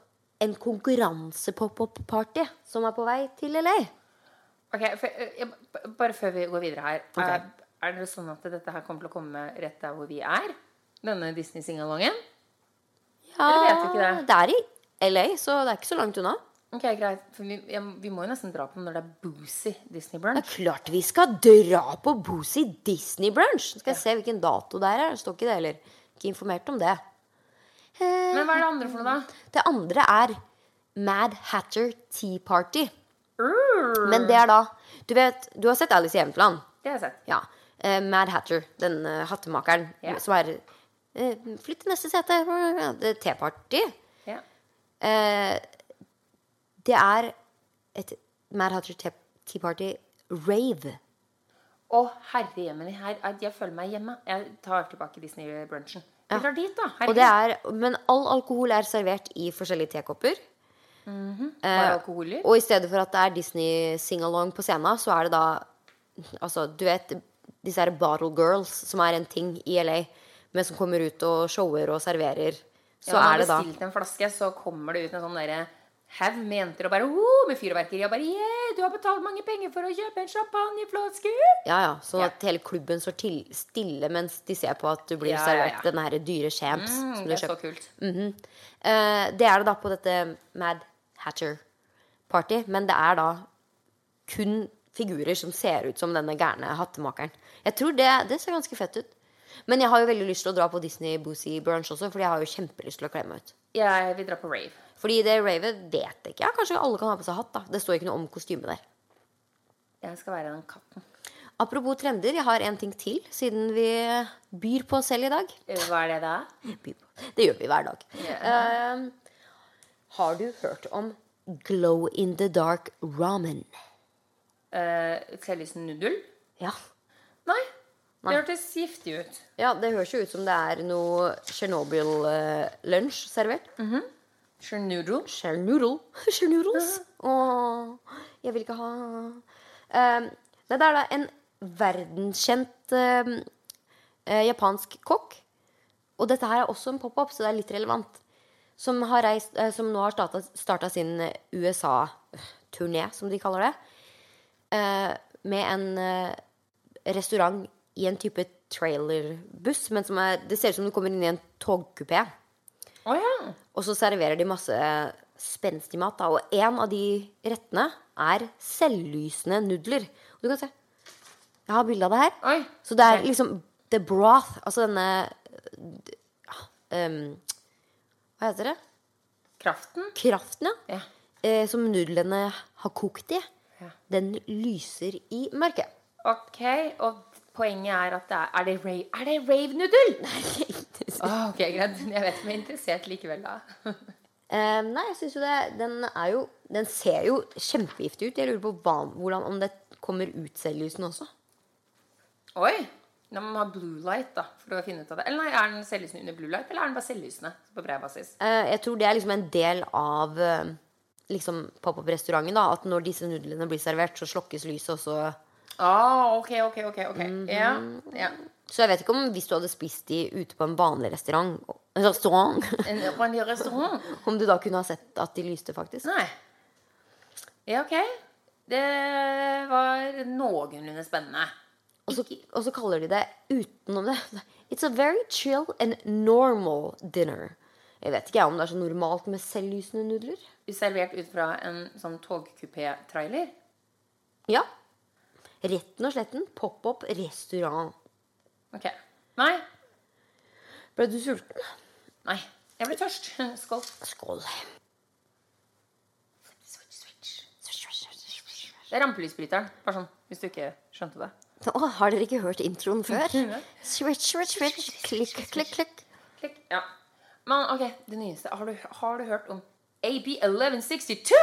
S1: en konkurranse-pop-up-party som er på vei til LA.
S2: Ok, for, eh, jeg, b- Bare før vi går videre her.
S1: Ok.
S2: Er, er det sånn at dette her kommer til å komme rett der hvor vi er? Denne Disney-singalongen?
S1: Ja,
S2: Eller vet vi ikke det?
S1: Det er i LA, så det er ikke så langt unna.
S2: Ok, greit. For vi, jeg, vi må jo nesten dra på den når det er boozy Disney
S1: Det
S2: Brunch.
S1: er klart vi skal dra på Boozy Disney Brunch! Skal jeg se hvilken dato det er? Det står ikke det heller. Ikke informert om det. Eh,
S2: Men hva er det andre for noe, da?
S1: Det andre er Mad Hatter Tea Party.
S2: Urr.
S1: Men det er da Du vet, du har sett Alice i Eventland?
S2: Det har jeg sett.
S1: Ja. Eh, Mad Hatter, den eh, hattemakeren
S2: Ja.
S1: som er eh, Flytt til neste sete. Det er Teparty.
S2: Ja.
S1: Eh, det er et Mad Hatter Te- Tea Party rave.
S2: Å, herre jemmen, her, er- jeg føler meg hjemme. Jeg tar tilbake Disney-brunchen. Vi
S1: Ja.
S2: drar dit, da.
S1: Og det er, men all alkohol er servert i forskjellige tekopper. eh,
S2: Bare alkoholer.
S1: Og i stedet for at det er Disney sing-along på scenen, så er det da Altså, du vet disse her Bottle Girls, som er en ting i LA, men som kommer ut og shower og serverer. Så
S2: ja,
S1: er det da
S2: Når du har bestilt en flaske, så kommer det ut en sånn derre haug med jenter og bare oh, med fyrverkeri og bare yeah, du har betalt mange penger for å kjøpe en champagneflaske.
S1: Ja, ja. Sånn
S2: Ja.
S1: at hele klubben står til, stille mens de ser på at du blir
S2: Ja, ja,
S1: servert
S2: ja.
S1: denne her dyre champs.
S2: Mm,
S1: som du
S2: det
S1: har
S2: er så
S1: kjøpt.
S2: kult.
S1: Mhm. Eh, det er det da på dette Mad Hatter Party, men det er da kun figurer som ser ut som denne gærne hattemakeren. Jeg tror det, det ser ganske fett ut. Men jeg har jo veldig lyst til å dra på Disney Boozy Brunch også, fordi jeg har jo kjempelyst til å kle meg ut.
S2: Jeg vil dra på rave.
S1: Fordi det ravet vet jeg ikke. Ja, kanskje alle kan ha på seg hatt, da. Det står ikke noe om kostyme der.
S2: Jeg skal være den katten.
S1: Apropos trender, jeg har en ting til, siden vi byr på oss selv i dag.
S2: Eh, Hva er det da?
S1: Byr på. Det gjør vi hver dag. Eh, har du hørt om glow in the dark ramen?
S2: Uh, Selvlysnudel?
S1: Ja.
S2: Nei. Det hørtes giftig ut.
S1: ja, det høres jo ut som det er noe Tsjernobyl-lunsj servert.
S2: Chernoodle.
S1: Chernoodle. Chernoodles. Åh, jeg vil ikke ha Eh, Nei, det er da en verdenskjent eh, eh, japansk kokk. Og dette her er også en pop-up, så det er litt relevant. Som, har reist, eh, som nå har starta sin eh, USA-turné, som de kaller det. eh, med en eh, restaurant i en type trailerbuss. Men som er, det ser ut som du kommer inn i en togkupé.
S2: Å ja.
S1: Og så serverer de masse spenstig mat. Da. Og en av de rettene er selvlysende nudler. Og du kan se. Jeg har bilde av det her.
S2: Oi.
S1: Så det er liksom the broth. Altså denne d- ja, ehm, Hva heter det?
S2: Kraften.
S1: Kraften, ja.
S2: Ja.
S1: Eh, som nudlene har kokt i.
S2: Ja.
S1: Den lyser i mørket.
S2: Ok, og poenget er at det er Er det rave, er det rave nudel?
S1: Ah,
S2: Åh, ok, greit. Jeg vet ikke om jeg er interessert likevel, da.
S1: Eh, nei, jeg synes jo det den, er jo, den ser jo kjempegiftig ut. Jeg lurer på hva, hvordan, om det kommer ut selvlysende også.
S2: Oi! Da må man ha blue light, da. For å finne ut av det. Eller nei, er den selvlysende under blue light, eller er den bare selvlysende på bred basis?
S1: Eh, jeg tror det er liksom en del av eh, liksom pop-up-restauranten. da At når disse nudlene blir servert, så slokkes lyset. Og så
S2: Ah, ok, ok, ok. ok Ja, ja.
S1: Så jeg vet ikke om hvis du hadde spist de ute på en vanlig restaurant, restaurant
S2: En, på en ny restaurant?
S1: om du da kunne ha sett at de lyste, faktisk.
S2: Nei. Ja, ok. Det var noenlunde spennende.
S1: Og så, og så kaller de det utenom det It's a very chill and normal dinner. Jeg vet ikke jeg om det er så normalt med selvlysende nudler.
S2: Servert ut fra en sånn togkupé-trailer.
S1: Ja. Retten og sletten. Pop-up restaurant.
S2: Ok. Nei.
S1: Ble du sulten?
S2: Nei. Jeg blir tørst. Skål.
S1: Skål.
S2: Switch, switch. Det er rampelysbryteren. Bare sånn, hvis du ikke skjønte det.
S1: Å, har dere ikke hørt introen før?
S2: Nei.
S1: Switch, switch, switch. Klikk, klikk, klikk.
S2: Klikk. Ja. Men ok, det nyeste. Har du, har du hørt om AB1162?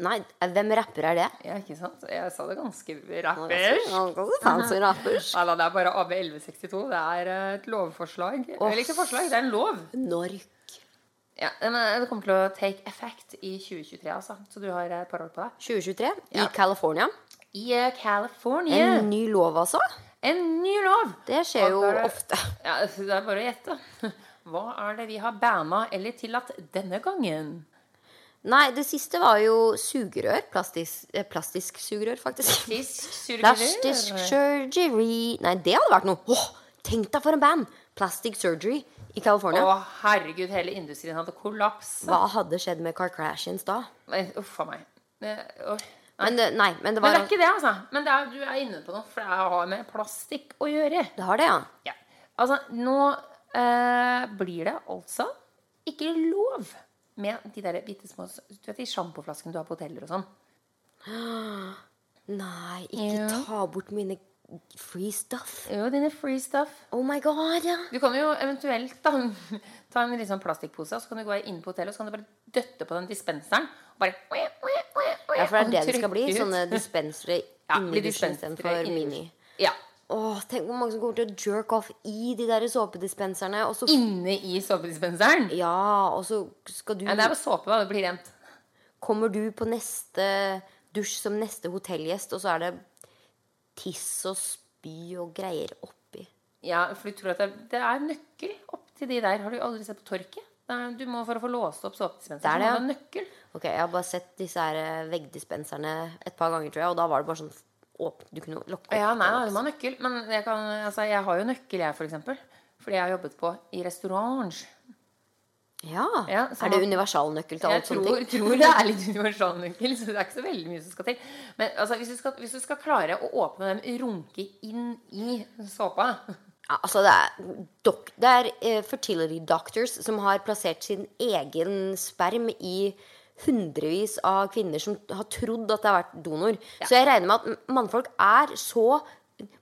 S1: Nei, hvem rapper er det?
S2: Ja, ikke sant? Jeg sa det ganske
S1: Rappers.
S2: rappers.
S1: Fancy rappers.
S2: Nei da, det er bare AB1162. Det er eh, et lovforslag. Eller ikke forslag, det er en lov.
S1: Nork.
S2: Ja, men eh, Det kommer til å take effect i 2023, altså. Så du har et par år på deg.
S1: 2023
S2: Ja.
S1: i California.
S2: I eh, California.
S1: En ny lov, altså.
S2: en ny lov!
S1: Det skjer jo
S2: Og da er det-
S1: ofte.
S2: Ja, Det er bare å gjette. Hva er det vi har banna eller tillatt denne gangen?
S1: Nei, det siste var jo sugerør. Plastisk, eh, plastisk sugerør, faktisk.
S2: Plastisk
S1: Plastisk
S2: surgery.
S1: surgery Nei, det hadde vært noe. Åh, tenk deg for en band! Plastic surgery i
S2: Å,
S1: California.
S2: herregud, hele industrien hadde kollapsa.
S1: Hva hadde skjedd med Kardashians da?
S2: Men, Uff a meg. Eh, åh.
S1: Men det, nei, men det
S2: Men
S1: var
S2: det er ikke det, altså. Men det er, du er inne på noe, for det har med plastikk å gjøre.
S1: Det har det, ja.
S2: Ja. Altså, nå eh, blir det altså ikke lov med de der bitte små Du vet de sjampoflaskene du har på hoteller og sånn?
S1: Nei, ikke
S2: Ja.
S1: ta bort mine free stuff.
S2: Jo, dine free stuff.
S1: Oh my god, ja.
S2: Du kan jo eventuelt da, ta en litt sånn plastikkpose, og så kan du gå inn på hotellet, og så kan du bare døtte på den dispenseren. Og bare
S1: Ja, for det er det det
S2: og
S1: skal bli.
S2: trykke ut.
S1: Sånne dispensere
S2: Ja,
S1: inni
S2: blir
S1: dusjen
S2: dispensere
S1: istedenfor
S2: inni
S1: mini.
S2: Ja.
S1: Åh, tenk hvor mange som kommer til å jerk off i de der såpedispenserne, og så
S2: Inne i såpedispenseren.
S1: Ja, og så skal du
S2: Ja, det er jo såpe, da. Det blir rent.
S1: Kommer du på neste dusj som neste hotellgjest, og så er det tiss og spy og greier oppi.
S2: Ja, for du tror at det, det er nøkkel opp til de der. Har du aldri sett på torket? Det er- Du må for å få låst opp såpedispenseren.
S1: Det er det,
S2: så
S1: ja.
S2: må du ha nøkkel.
S1: Ok, Jeg har bare sett disse her eh, veggdispenserne et par ganger, tror jeg, og da var det bare sånn åp- Du kunne lukke opp.
S2: Ja, nei, nei, du må ha nøkkel. Men jeg, kan, altså, jeg har jo nøkkel, jeg, for eksempel. Fordi jeg har jobbet på i restaurant.
S1: Ja.
S2: Ja, så
S1: er det
S2: man-
S1: universalnøkkel til
S2: Jeg
S1: alle sånne
S2: tror,
S1: ting?
S2: tror det er litt universalnøkkel, så det er ikke så veldig mye som skal til. Men altså, hvis, du skal, hvis du skal klare å åpne dem, runke inn i såpa
S1: Ja, altså, det er, dok det er eh, fertility doctors som har plassert sin egen sperm i hundrevis av kvinner som har trodd at det har vært donor. Så jeg regner med at m- mannfolk er så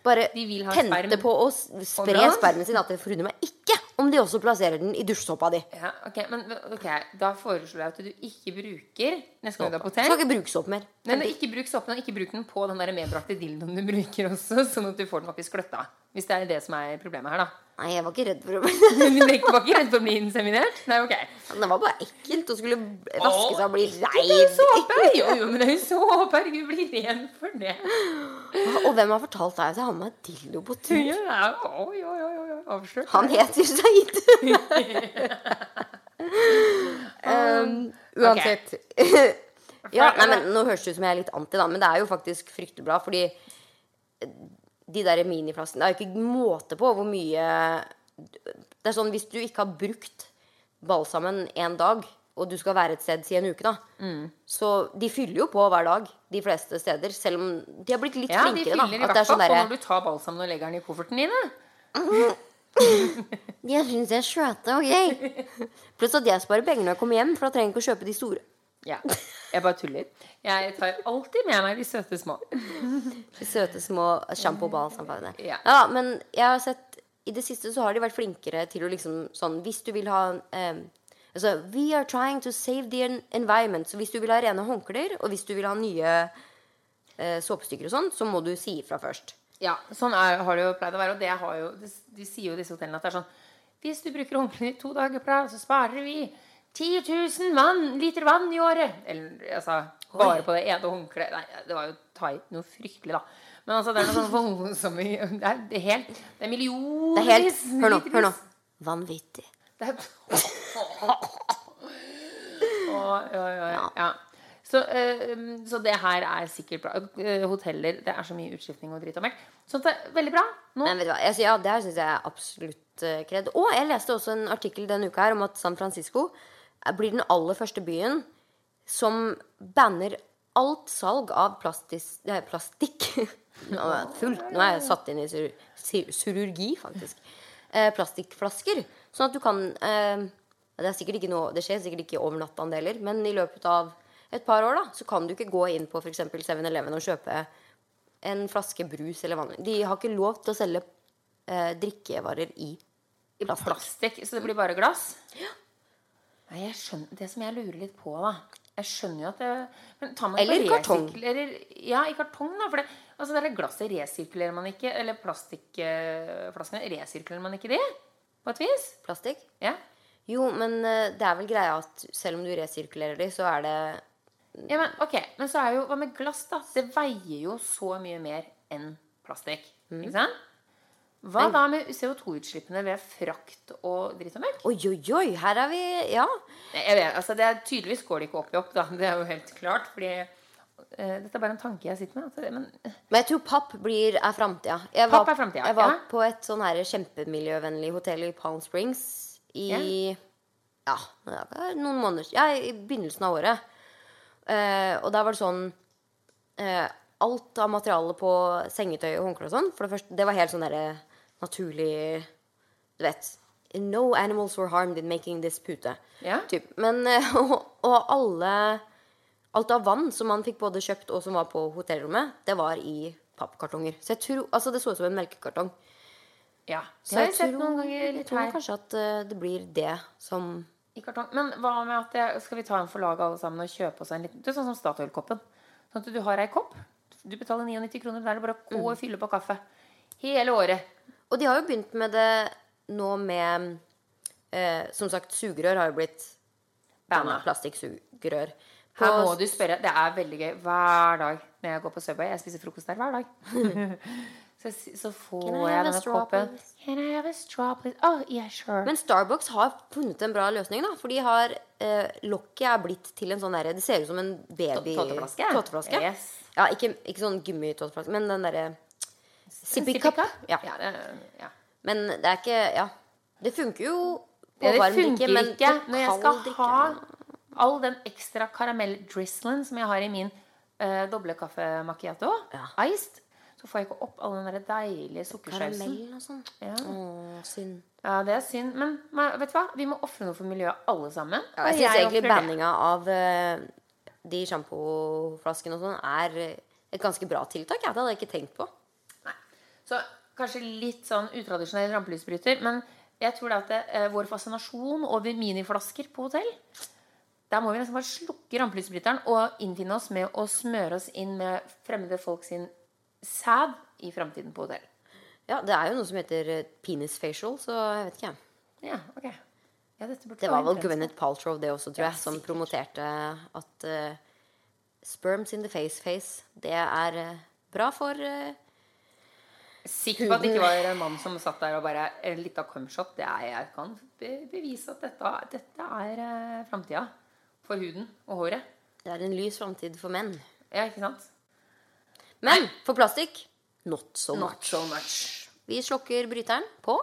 S1: bare
S2: De vil ha
S1: tente
S2: sperm
S1: på å s- spre
S2: overalt.
S1: spermen sin at det forundrer meg ikke om de også plasserer den i dusjsåpa di.
S2: ja, ok, men ok, Da foreslår jeg at du ikke bruker neste gang du er på hotell.
S1: Skal ikke bruke såpe mer.
S2: Nei, men ikke bruk soppen, og ikke bruk den på den der medbrakte dildoen du bruker også, sånn at du får den opp i skløtta. Hvis det er det som er problemet her, da.
S1: Nei, jeg var ikke redd for å
S2: Du var ikke redd for å bli inseminert? Nei, ok.
S1: Det var bare ekkelt å skulle vaske seg og bli
S2: Det er jo
S1: rein.
S2: såpe! Jo, jo, men det er jo såpe! Herregud, bli ren for det.
S1: Og hvem har fortalt deg at jeg har med meg dildo på tur?
S2: Ja, ja, oi, oi, oi, oi, avslørt.
S1: Han heter Said. um, uansett. ja, nei, men Nå høres det ut som jeg er litt anti, da, men det er jo faktisk fryktelig bra. Fordi eh, de der miniflaskene Det er jo ikke måte på hvor mye Det er sånn hvis du ikke har brukt balsamen en dag, og du skal være et sted si en uke, da.
S2: Mm.
S1: Så de fyller jo på hver dag, de fleste steder. Selv om de har blitt litt
S2: Ja, de
S1: flinkere.
S2: fyller
S1: da,
S2: i
S1: at
S2: hvert
S1: det er
S2: fall
S1: sånn
S2: på
S1: derre
S2: når du tar balsamen og legger den i kofferten din. da.
S1: Jeg syns jeg er søte og gøy. Pluss at jeg sparer penger når jeg kommer hjem, for da trenger jeg ikke å kjøpe de store.
S2: Ja, jeg bare tuller. Jeg tar alltid med meg de søte små.
S1: De søte små sjampo-balsampene.
S2: Ja.
S1: Ja, men jeg har sett I det siste så har de vært flinkere til å liksom sånn Hvis du vil ha eh, Altså, we are trying to save the en- environment. Så hvis du vil ha rene håndklær, og hvis du vil ha nye eh, såpestykker og sånn, så må du si ifra først.
S2: Ja, sånn er, har det jo pleid å være. Og det har jo, de, de sier jo i disse hotellene at det er sånn Hvis du bruker håndklærne i to dager på rad, så sparer vi 10 000 vann, liter vann i året. Eller altså Bare på det ene håndkleet. Nei, det var jo thai, noe fryktelig, da. Men altså, det er noe sånn voldsomme Det er, det er helt Det er
S1: Det er
S2: millioner
S1: helt Hør nå. hør nå Vanvittig.
S2: det er... Å, ja, ja, ja. ja. Så, eh, så det her er sikkert bra. Eh, Hoteller Det er så mye utskiftning og dritt og møkk. Sånt er veldig bra. Nå
S1: Men vet du hva, altså, ja, det her syns jeg er absolutt eh, kred. Og jeg leste også en artikkel denne uka her om at San Francisco eh, blir den aller første byen som banner alt salg av plastis, eh, plastikk. Nå er jeg fullt. Nå er jeg satt inn i sur, sir- sururgi, faktisk. Eh, plastikkflasker. Sånn at du kan eh, det, er sikkert ikke noe, det skjer sikkert ikke over natta en deler, men i løpet av et par år da, så kan du ikke gå inn på f.eks. 7-Eleven og kjøpe en flaske brus eller vanlig. De har ikke lov til å selge eh, drikkevarer i plastikk.
S2: plastikk, så det blir bare glass. Nei, jeg skjønner, det som jeg lurer litt på, da Jeg skjønner jo at det men tar man ikke
S1: Eller i
S2: og
S1: kartong.
S2: resirkulerer- Ja, i kartong, da. For det, altså, det der glasset resirkulerer man ikke. Eller plastikkflaskene resirkulerer man ikke de? På et vis?
S1: Plastikk?
S2: Ja.
S1: Jo, men eh, det er vel greia at selv om du resirkulerer de, så er det
S2: ja men, ok, men så er jo Hva Mm. med glass, da? Det veier jo så mye mer enn plastikk. Ikke sant? Hva da med CO2-utslippene ved frakt og dritt og møkk?
S1: Oi, oi, oi, her er vi Ja.
S2: Nei, Jeg vet, altså det er, tydeligvis går det ikke opp i opp, da. Det er jo helt klart. Fordi eh, dette er bare en tanke jeg sitter med. Altså, det- men
S1: Men jeg tror papp blir, er framtida. Jeg
S2: Papp er fremtiden,
S1: Jeg var
S2: ja.
S1: på et sånn her kjempemiljøvennlig hotell i Palm Springs i ja, noen måneder Ja, i begynnelsen av året. Eh, og der var det sånn eh, Alt av materialet på sengetøy og håndklær og sånn, for det første, det var helt sånn derre naturlig Du vet. No animals were harmed in making this pute.
S2: Ja.
S1: Typ. Men, eh, og, og alle Alt av vann som man fikk både kjøpt og som var på hotellrommet, det var i pappkartonger. Så jeg tror, altså det så ut som en melkekartong.
S2: ja, det
S1: Så
S2: har jeg sett noen ganger
S1: jeg
S2: litt
S1: tror
S2: her
S1: kanskje at eh, det blir det som
S2: i kartong. Men hva med at det, skal vi ta en for laget alle sammen og kjøpe oss en liten Det er sånn som Statoil-koppen. Sånn at du har ei kopp. Du betaler 99 kroner. Da er det bare å gå og fylle på kaffe. Hele året.
S1: Og de har jo begynt med det nå med eh, Som sagt, sugerør har jo blitt banna.
S2: Banna.
S1: Plastikksugerør.
S2: Her
S1: På-
S2: må du spørre. Det er veldig gøy hver dag når jeg går på Subway. Jeg spiser frokost der hver dag. så, så får
S1: Can I have a
S2: jeg denne
S1: straw,
S2: koppen.
S1: please?
S2: Can I have a straw, please? Oh, yeah, sure.
S1: Men Starbucks har funnet en bra løsning, da. For de har eh, Lokket er blitt til en sånn derre Det ser ut som en baby
S2: Tåteflaske?
S1: tåteflaske.
S2: Yes.
S1: Ja, ikke, ikke sånn gummitåteflaske, men den derre Sippy
S2: Sippy
S1: cup.
S2: cup?
S1: Ja.
S2: Ja, det- ja.
S1: Men det er ikke Ja. Det funker jo på
S2: Ja, det
S1: varm
S2: funker
S1: drikke, men
S2: ikke
S1: på
S2: når jeg
S1: kald
S2: skal
S1: drikke
S2: ha all den ekstra karamelldrizzlen som jeg har i min eh, doble kaffe macchiato,
S1: Ja.
S2: iced, så får jeg ikke opp all den der deilige sukkersausen.
S1: Karamell og sånn.
S2: Ja.
S1: Å, synd.
S2: ja, det er synd. Men men vet du hva? vi må ofre noe for miljøet, alle sammen.
S1: Ja,
S2: Og
S1: jeg syns egentlig
S2: ofrer det.
S1: banninga av eh, de sjampoflaskene og sånn er eh, et ganske bra tiltak. Jeg. Det hadde jeg ikke tenkt på.
S2: Nei. Så kanskje litt sånn utradisjonell rampelysbryter. Men jeg tror det at det, eh, vår fascinasjon over miniflasker på hotell Der må vi nesten bare slukke rampelysbryteren og innfinne oss med å smøre oss inn med fremmede folk sin sæd i framtiden på hotell.
S1: Ja, Det er jo noe som heter eh, penis facial, så jeg vet ikke. jeg.
S2: Ja, ok. Ja, dette burde
S1: Det
S2: være
S1: var vel
S2: en trend.
S1: Gwyneth Paltrow det også, tror jeg, som
S2: sikkert.
S1: promoterte at eh, sperms in the face-face, det er eh, bra for eh,
S2: Sikker på at det ikke var en mann som satt der og bare En liten cumshot. Det er jeg kan be- bevise at dette, dette er eh, framtida. For huden og håret.
S1: Det er en lys framtid for menn.
S2: Ja, ikke sant?
S1: Men for plastikk not so
S2: Not
S1: much.
S2: so much.
S1: Vi slokker bryteren på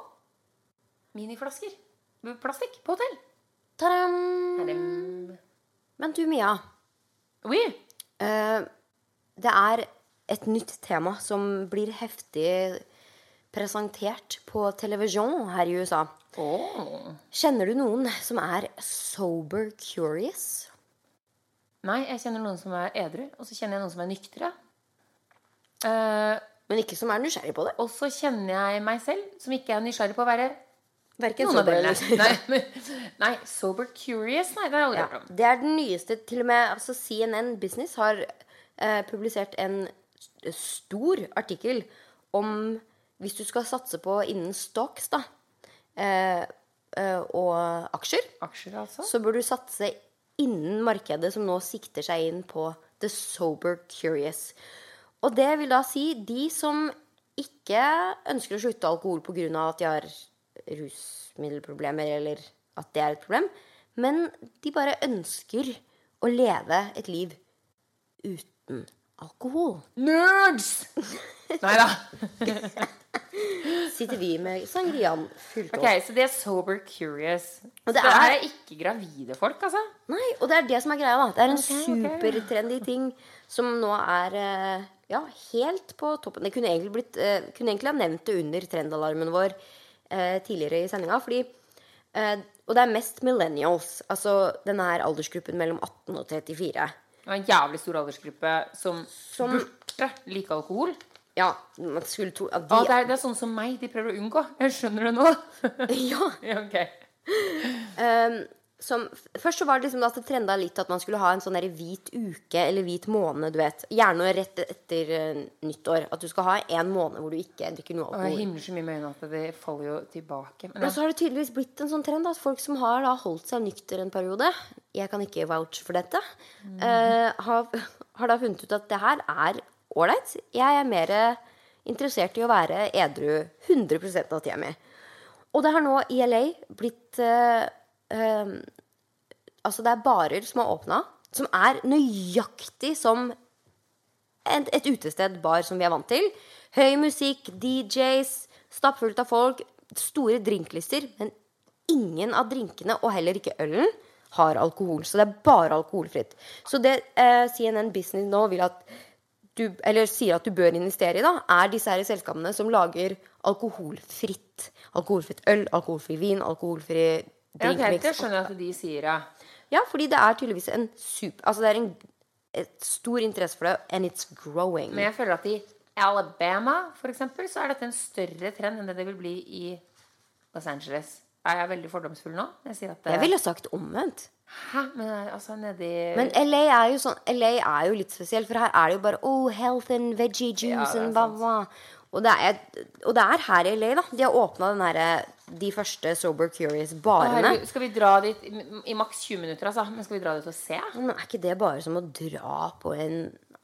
S2: miniflasker. Plastikk på hotell.
S1: Ta-dam! Men du, Mia.
S2: Oui.
S1: eh, det er et nytt tema som blir heftig presentert på televisjon her i USA. Kjenner du noen som er sober curious?
S2: Nei, jeg kjenner noen som er edru, og så kjenner jeg noen som er nyktre. Eh,
S1: Men ikke som er nysgjerrig på det.
S2: og så kjenner jeg meg selv, som ikke er nysgjerrig på å være
S1: Verken
S2: noen av
S1: sober
S2: delene.
S1: eller
S2: Nei, men- nei, sober curious, nei, det har jeg aldri
S1: Ja,
S2: hørt om.
S1: det er den nyeste. Til og med altså CNN Business har eh, publisert en s- stor artikkel om hvis du skal satse på innen stocks da, eh, eh, og aksjer,
S2: Aksjer, altså?
S1: så bør du satse innen markedet som nå sikter seg inn på the sober curious. Og det vil da si de som ikke ønsker å slutte alkohol pga. at de har rusmiddelproblemer eller at det er et problem, men de bare ønsker å leve et liv uten alkohol.
S2: Nerds! Nei da.
S1: Sitter vi med sangrian fullt opp.
S2: Ok, så de er sober curious.
S1: Og
S2: Og
S1: det
S2: det, er...
S1: er-
S2: ikke gravide folk, altså?
S1: Nei, og det er det som er greia, da. Det er en
S2: Ok, ok.
S1: supertrendy ting som nå er eh, ja, helt på toppen. Det kunne egentlig, blitt, eh, kunne egentlig ha nevnt det under trendalarmen vår eh, tidligere i sendinga, fordi eh, Og det er mest millennials, altså denne her aldersgruppen mellom 18 og 34.
S2: Det er en jævlig stor aldersgruppe som,
S1: Som-
S2: burde like alkohol.
S1: Ja, man skulle tro at
S2: Ja, det,
S1: de
S2: er, det er sånn som meg de prøver å unngå. Jeg skjønner det nå.
S1: ja,
S2: Ja, ok.
S1: Ehm, som, først så var det liksom at det trenda litt at man skulle ha en sånn der hvit uke eller hvit måned. du vet Gjerne rett etter eh, nyttår. At du skal ha en måned hvor du ikke drikker noe
S2: Og jeg
S1: alkohol.
S2: himler så mye med øynene at de faller jo tilbake. Men
S1: Men
S2: ja.
S1: så har det tydeligvis blitt en sånn trend da, at folk som har da holdt seg nykter en periode Jeg kan ikke vouch for dette. eh, har, har da funnet ut at det her er ålreit. Jeg er mer interessert i å være edru 100 av tida mi. Og det har nå i LA blitt eh, eh, Altså, det er barer som har åpna, som er nøyaktig som et, et utested, bar, som vi er vant til. Høy musikk, DJs, stappfullt av folk, store drinklister. Men ingen av drinkene, og heller ikke ølen, har alkohol. Så det er bare alkoholfritt. Så det eh, CNN Business nå vil at du, eller sier at du bør investere i, da, er disse her selskapene som lager alkoholfritt. Alkoholfritt øl, alkoholfri vin, alkoholfri
S2: Ja, ok,
S1: drinkmix.
S2: det skjønner jeg at de sier, ja.
S1: Ja, fordi det er tydeligvis en super Altså det er en et stor interesse for det, and it's growing.
S2: Men jeg føler at i Alabama, for eksempel, så er dette en større trend enn det det vil bli i Los Angeles. Er jeg veldig fordomsfull nå? Jeg sier at det,
S1: Jeg ville sagt omvendt.
S2: Hæ? Men altså, nedi
S1: Men LA er jo sånn LA er jo litt spesiell, for her er det jo bare Oh, health and veggie
S2: Ja,
S1: juice
S2: det er
S1: and blah,
S2: sant.
S1: blah. Og det, er, og det er her i LA, da. De har åpna den herre De første Sober
S2: Å,
S1: Curious-barene.
S2: herregud, Skal vi dra dit i- i maks 20 minutter, altså? Men skal vi dra dit og se?
S1: Men er ikke det bare som å dra på en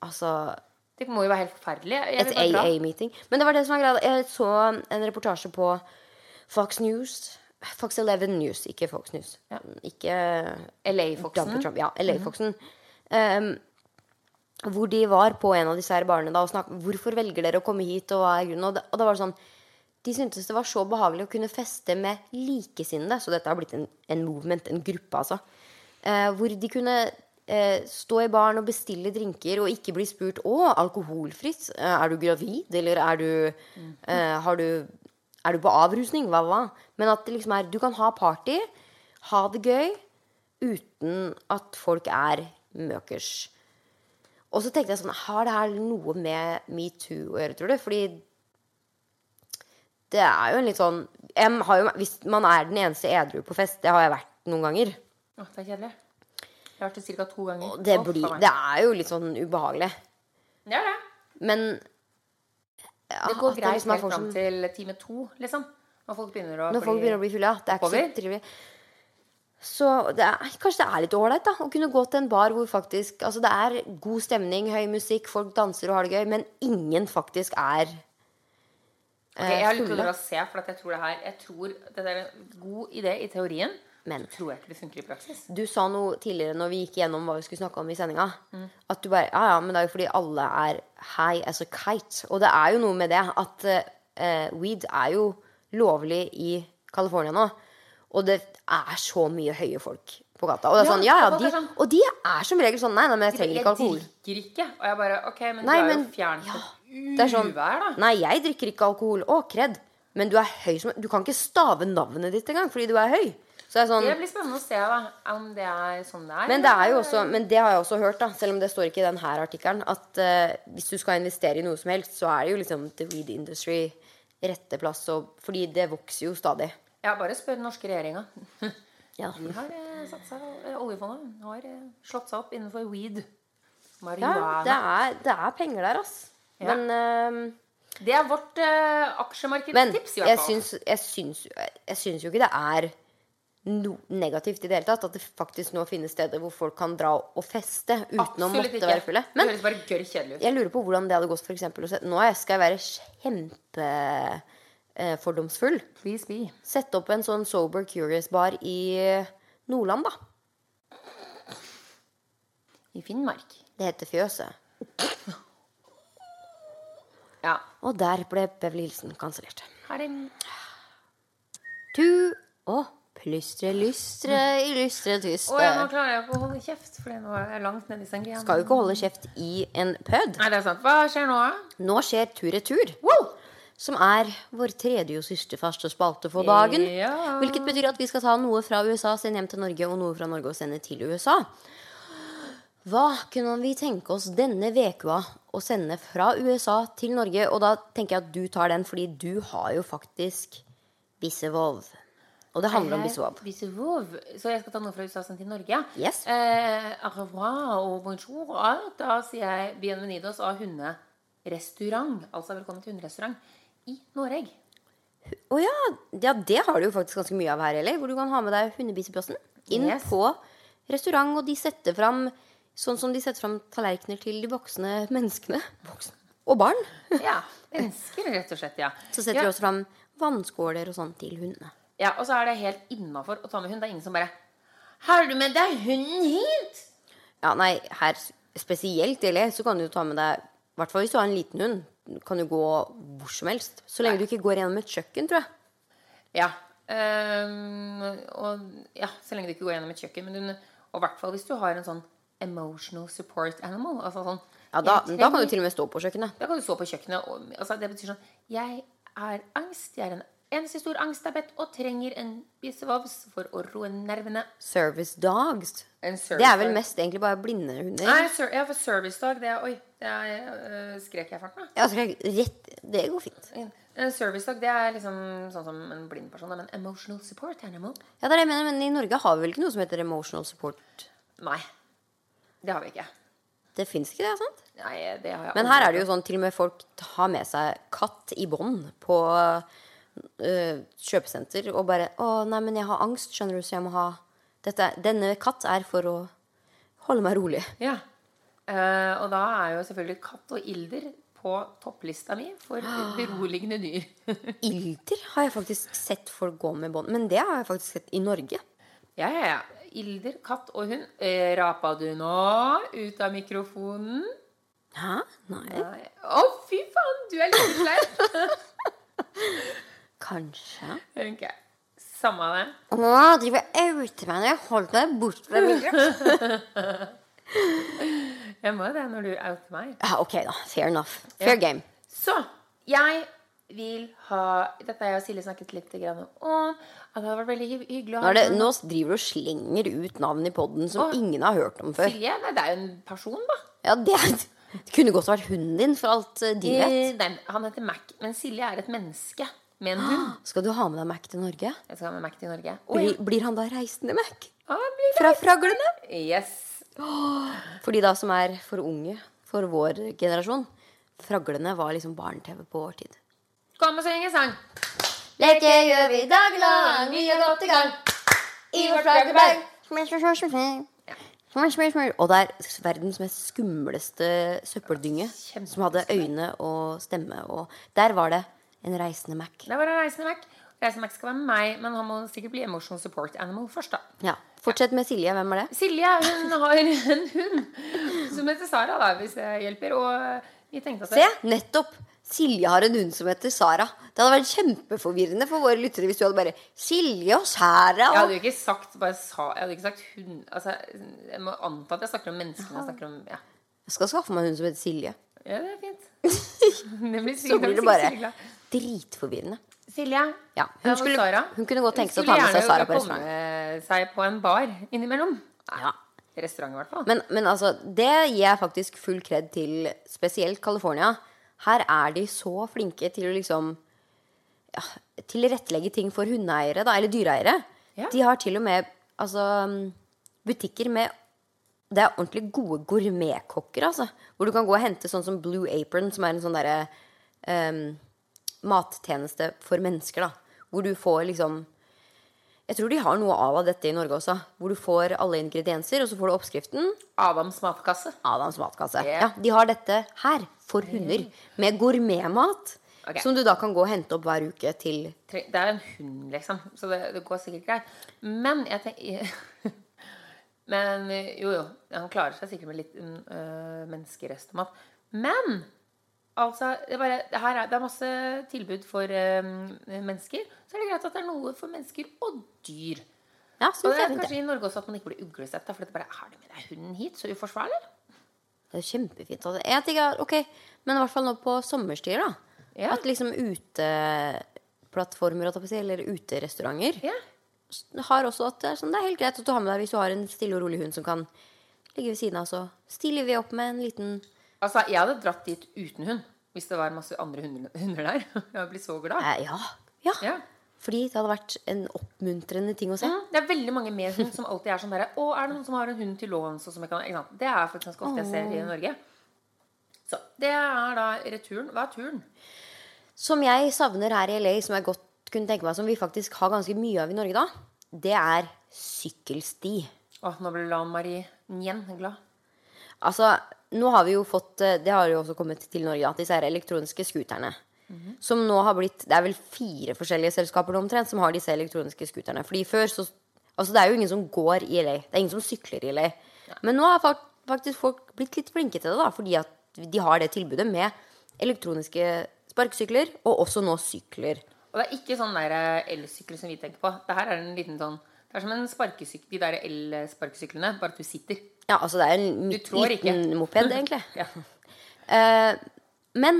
S1: Altså
S2: Det må jo være helt forferdelig. Jeg
S1: et
S2: vil bare dra.
S1: AA-meeting. Men det var det som var greia. Jeg så en reportasje på Fox News. Fox 11 News, ikke Fox News.
S2: Ja.
S1: Ikke Donald
S2: LA-Foxen.
S1: Trump. Ja,
S2: Mhm.
S1: LA-Foxen. Um, hvor de var på en av disse her barene da, og snakket Hvorfor velger dere å komme hit, og hva er grunnen? Og, det, og da var det sånn De syntes det var så behagelig å kunne feste med likesinnede. Så dette har blitt en, en movement, en gruppe, altså. Eh, hvor de kunne eh, stå i baren og bestille drinker og ikke bli spurt Å, alkoholfritt? Eh, er du gravid? Eller er du eh, Har du Er du på avrusning? Hva, hva? Men at det liksom er Du kan ha party, ha det gøy, uten at folk er møkers. Og så tenkte jeg sånn Har det her noe med metoo å gjøre, tror du? Fordi det er jo en litt sånn jeg har jo, Hvis man er den eneste edru på fest, det har jeg vært noen ganger
S2: Å, det er kjedelig. Jeg har vært det ca. to ganger.
S1: og det,
S2: Å,
S1: blir,
S2: faen meg.
S1: det er jo litt sånn ubehagelig.
S2: Det er det.
S1: Men ja,
S2: Det går
S1: at
S2: greit
S1: liksom er
S2: helt
S1: folk
S2: fram
S1: som-
S2: til time to, liksom. Når folk begynner å
S1: Når folk begynner å bli fulle, ja. Det er ikke
S2: Over.
S1: så trivelig. Så det er, kanskje det er litt ålreit da, å kunne gå til en bar hvor faktisk Altså det er god stemning, høy musikk, folk danser og har det gøy, men ingen faktisk er
S2: Ok,
S1: eh,
S2: jeg har lyst til å dra og se, for at jeg tror det her Jeg tror det er en god idé i teorien.
S1: Men.
S2: Så tror jeg ikke det funker i praksis.
S1: Du sa noe tidligere når vi gikk gjennom hva vi skulle snakke om i sendinga.
S2: Mm.
S1: At du bare Ja, ja, men det er jo fordi alle er high as a kite. Og det er jo noe med det at eh, weed er jo lovlig i California nå. Og det er så mye høye folk på gata. Og det er
S2: Ja,
S1: sånn, ja, ja,
S2: folk er
S1: de,
S2: sånn-
S1: og de er som regel sånn Nei, nei, men jeg trenger ikke alkohol.
S2: drikker ikke. Og jeg bare OK, men
S1: Nei,
S2: du er jo
S1: men-
S2: fjernt
S1: ja,
S2: ja,
S1: Det er sånn
S2: uvær, da.
S1: Nei, jeg drikker ikke alkohol. Å, kred. Men du er høy som Du kan ikke stave navnet ditt engang fordi du er høy. Så det er sånn
S2: Det blir spennende å se da om det er sånn det er.
S1: Men det er jo også, men det har jeg også hørt, da, selv om det står ikke i denne artikkelen, at eh, hvis du skal investere i noe som helst, så er det jo liksom the weed industry rette plass, og, fordi det vokser jo stadig. Mm.
S2: Ja, bare spør den norske regjeringa.
S1: Ja.
S2: De har eh, satsa eh, Oljefondet har eh, slått seg opp innenfor weed. Marihuana.
S1: det, er, det er penger der, ass.
S2: Ja.
S1: Men, eh,
S2: det, er vårt eh,
S1: men
S2: aksjemarkedstips, i
S1: jeg,
S2: hvert fall.
S1: syns, jeg, syns, jeg syns jo ikke det er no negativt i det hele tatt at det faktisk nå finnes steder hvor folk kan dra og feste uten å måtte være fulle. Men
S2: Men, det høres bare gørr kjedelig ut.
S1: Jeg lurer på hvordan det hadde gått for eksempel, å se- Nå er- skal jeg være kjempefordomsfull.
S2: Please be.
S1: Sette opp en sånn Sober Curious-bar i eh, Nordland, da.
S2: I Finnmark.
S1: Det heter Fjøset.
S2: Ja.
S1: Og der ble Beverly Hilsen kansellert.
S2: Her er
S1: Tu og plystre, lystre, illustre, tyste.
S2: Å, ja, nå klarer jeg ikke å holde kjeft, Fordi nå er jeg langt nede i sangriaen.
S1: Skal jo ikke holde kjeft i en pød.
S2: Nei, det er sant. Hva skjer nå? da?
S1: Nå skjer Tur-retur.
S2: Wow!
S1: Som er vår tredje og siste faste spalte for dagen.
S2: Ja.
S1: Hvilket betyr at vi skal ta noe fra USA, sende hjem til Norge, og noe fra Norge og sende til USA. Hva kunne vi tenke oss denne vekua å sende fra USA til Norge? Og da tenker jeg at du tar den, fordi du har jo faktisk Bissevov. Og det handler om Bissevov.
S2: Bisevov. Så jeg skal ta noe fra USA sendt til Norge.
S1: Yes.
S2: Eh, au revoir og bonjour og alt. Da sier jeg bienvenidos av hunderestaurant. Altså velkommen til hunderestaurant i Norge.
S1: Å ja, ja, det har du jo faktisk ganske mye av her, eller? Hvor du kan ha med deg hundebiseplassen inn
S2: Yes.
S1: på restaurant, og de setter fram sånn som de setter fram tallerkener til de voksne menneskene. Voksne. Og barn.
S2: Ja, Mennesker, rett og slett. ja
S1: Så setter
S2: ja.
S1: vi også fram vannskåler og sånn til hundene.
S2: Ja, Og så er det helt innafor å ta med hund. Det er ingen som bare 'Har du med deg hunden hit?'
S1: Ja, nei, her s- spesielt eller, så kan du ta med deg I hvert fall hvis du har en liten hund. Kan du gå hvor som helst. Så lenge du ikke går gjennom et kjøkken, tror jeg.
S2: Ja. ehm, og ja, så lenge du ikke går gjennom et kjøkken. Men du, og i hvert fall hvis du har en sånn emotional support animal. Altså sånn
S1: Ja, da,
S2: jeg
S1: da kan
S2: trenger-
S1: du til og med stå på kjøkkenet.
S2: Da kan du stå på kjøkkenet og altså, Det betyr sånn Jeg er angst. Jeg er en eneste stor angsttabett og trenger en bisevovs for å roe nervene.
S1: Service dogs.
S2: En
S1: Det er vel mest egentlig bare blinde hunder.
S2: Nei, ser, ja, for servicedag, det er Oi, det er, øh, skrek jeg i farten, da?
S1: Ja, så jeg- rett, det går fint.
S2: En servicedag det er liksom sånn som en blind person, da, men emotional support animal.
S1: Ja, det er det jeg mener, Men i Norge har vi vel ikke noe som heter emotional support?
S2: Nei. Det har vi ikke.
S1: Det fins ikke, det, sant?
S2: Nei, det har jeg
S1: Men her er det jo sånn til og med folk har med seg katt i bånd på øh, kjøpesenter og bare 'Å, nei, men jeg har angst, skjønner du, så jeg må ha dette, er- Denne katt er for å holde meg rolig.
S2: Ja. Eh, og da er jo selvfølgelig katt og ilder på topplista mi for beroligende dyr.
S1: Ilder har jeg faktisk sett folk gå med bånd, men det har jeg faktisk sett i Norge.
S2: ja, ja, ja. Ilder, katt og hund. Eh, rapa du nå ut av mikrofonen?
S1: Hæ? Nei.
S2: Nei. Å, fy faen! Du er litt sleip.
S1: Kanskje.
S2: Ok. Samme av det.
S1: Å, jeg driver og outer meg når jeg holdt meg bort fra mikrofonen.
S2: Jeg må jo det når du outer meg.
S1: Ja, ok, da. Fair enough. Fair game.
S2: Så jeg vil ha Dette har jeg og Silje snakket litt grann om. At det hadde vært veldig hy- hyggelig å
S1: Nå,
S2: ha
S1: er det, nå driver du og slenger ut navn i poden som
S2: Å.
S1: ingen har hørt om før.
S2: Silje, nei, det er jo en person, da.
S1: Ja, det, det kunne godt vært hunden din, for alt eh, de vet.
S2: Eh, Nei, han heter Mac, men Silje er et menneske med en hund.
S1: Skal du ha med deg Mac til Norge?
S2: Jeg skal ha med Mac til Norge. Oi.
S1: Blir, blir han da reisende Mac?
S2: Ah, blir det?
S1: Fra fraglene?
S2: Yes.
S1: For de da som er for unge for vår generasjon. Fraglene var liksom barne-TV på vår tid.
S2: Kom og syng en sang.
S1: Leke gjør vi daglang, vi gjør godt i gang. I vårt flaggerberg. Og det er verdens mest skumleste søppeldynge.
S2: Kjempe-
S1: Som hadde øyne og stemme. Og der var det en reisende Mac.
S2: Det var en Reisende Mac. Reisende Mac skal være meg, men han må sikkert bli emotional support animal først, da.
S1: Ja, Fortsett med Silje. Hvem er det?
S2: Silje hun har en hund som heter Sara, da, hvis det hjelper. Og vi tenkte at
S1: Se, nettopp. Silje har en hund som heter Sara. Det hadde vært kjempeforvirrende for våre lyttere hvis du hadde bare Silje og Sara
S2: Jeg
S1: og
S2: hadde jo ikke sagt bare sa, Jeg hadde ikke sagt hun altså, Jeg må anta at jeg snakker om menneskene jeg snakker om ja.
S1: Jeg skal skaffe meg en hund som heter Silje.
S2: ja, det er fint. Det blir
S1: Så
S2: sikkert,
S1: blir det
S2: sikkert
S1: bare
S2: Silje glad.
S1: dritforvirrende.
S2: Silje.
S1: Ja,
S2: Ja,
S1: hun,
S2: og
S1: skulle,
S2: Sara?
S1: hun kunne godt tenke seg å ta med seg Sara på
S2: Skulle
S1: restaurant.
S2: gjerne komme seg på en bar innimellom. Nei,
S1: Ja.
S2: Restaurant, i hvert fall.
S1: Men, men altså, det gir jeg faktisk full kred til spesielt California. Her er de så flinke til å liksom ja, tilrettelegge ting for hundeeiere, da, eller dyreeiere.
S2: Ja.
S1: De har til og med altså, mm, butikker med Det er ordentlig gode gourmetkokker, altså. Hvor du kan gå og hente sånn som Blue Apron, som er en sånn derre em, mattjeneste for mennesker, da. Hvor du får liksom Jeg tror de har noe à la dette i Norge også. Hvor du får alle ingredienser, og så får du oppskriften.
S2: Adams matkasse.
S1: Adams matkasse.
S2: Ja.
S1: Ja, de har dette her for hunder. Med gourmetmat.
S2: Ok.
S1: Som du da kan gå og hente opp hver uke til
S2: Tre- Det er en hund, liksom, så det, det går sikkert greit. Men jeg tenker Men jo, jo. Han klarer seg sikkert med litt øh, menneskerestemat. Men altså det, er bare, det, her er, det er masse tilbud for øh, mennesker. Så er det greit at det er noe for mennesker og dyr.
S1: Ja,
S2: Og
S1: synes jeg
S2: det er
S1: fint. det.
S2: kanskje i Norge også at man ikke blir uglesett. da, For det bare er det med deg hunden hit? Så uforsvarlig.
S1: Det er kjempefint. altså. Jeg tenker, ok, Men i hvert fall nå på sommerstid, da.
S2: Ja.
S1: At liksom uteplattformer holdt jeg på å si, eller uterestauranter
S2: Ja.
S1: har også at det er, sånn, det er helt greit at du har med deg hvis du har en stille og rolig hund som kan ligge ved siden av. Så stiller vi opp med en liten
S2: Altså, jeg hadde dratt dit uten hund. Hvis det var masse andre hunder, hunder der. Jeg hadde blitt så glad.
S1: eh, ja, ja.
S2: Ja.
S1: Fordi det hadde vært en oppmuntrende ting å se.
S2: Mm, Det er veldig mange med hund som alltid er sånn derre Å, er det noen som har en hund til låns? Og som jeg kan, ikke sant? Det er faktisk ganske ofte jeg ser i Norge. Så det er da returen. Hva er turen?
S1: Som jeg savner her i LA, som jeg godt kunne tenke meg som vi faktisk har ganske mye av i Norge da, det er sykkelsti.
S2: Å, nå ble Lan Marie Nien glad.
S1: Altså, nå har vi jo fått eh, Det har jo også kommet til Norge at disse her elektroniske scooterne. Som nå har blitt Det er vel fire forskjellige selskaper nå omtrent som har disse elektroniske scooterne. Fordi før så Altså det er jo ingen som går i LA. Det er ingen som sykler i LA. Men nå har fak- faktisk folk blitt litt flinke til det, da. Fordi at de har det tilbudet med elektroniske sparkesykler, og også nå sykler.
S2: Og det er ikke sånn der eh, elsykkel som vi tenker på. Det her er en liten sånn Det er som en sparkesyk, de der elsparkesyklene, bare at du sitter.
S1: Ja, altså det er en
S2: Du tror ikke.
S1: liten moped, egentlig.
S2: Ja.
S1: Eh, men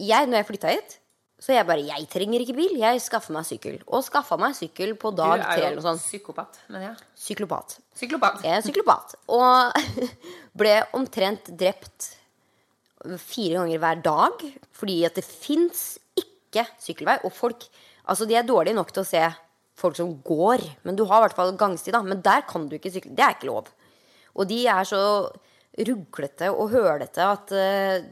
S1: jeg, når jeg flytta hit, så jeg bare Jeg trenger ikke bil, jeg skaffer meg sykkel. Og skaffa meg sykkel på
S2: Du
S1: dag tre
S2: er
S1: eller noe
S2: jo
S1: sånn. sånt.
S2: psykopat, men ja.
S1: Syklopat.
S2: Psykopat.
S1: Jeg er en syklopat. Og ble omtrent drept fire ganger hver dag fordi at det fins ikke sykkelvei. Og folk Altså, de er dårlige nok til å se folk som går, men du har i hvert fall gangsti, da. Men der kan du ikke sykle. Det er ikke lov. Og de er så ruglete og hølete at eh,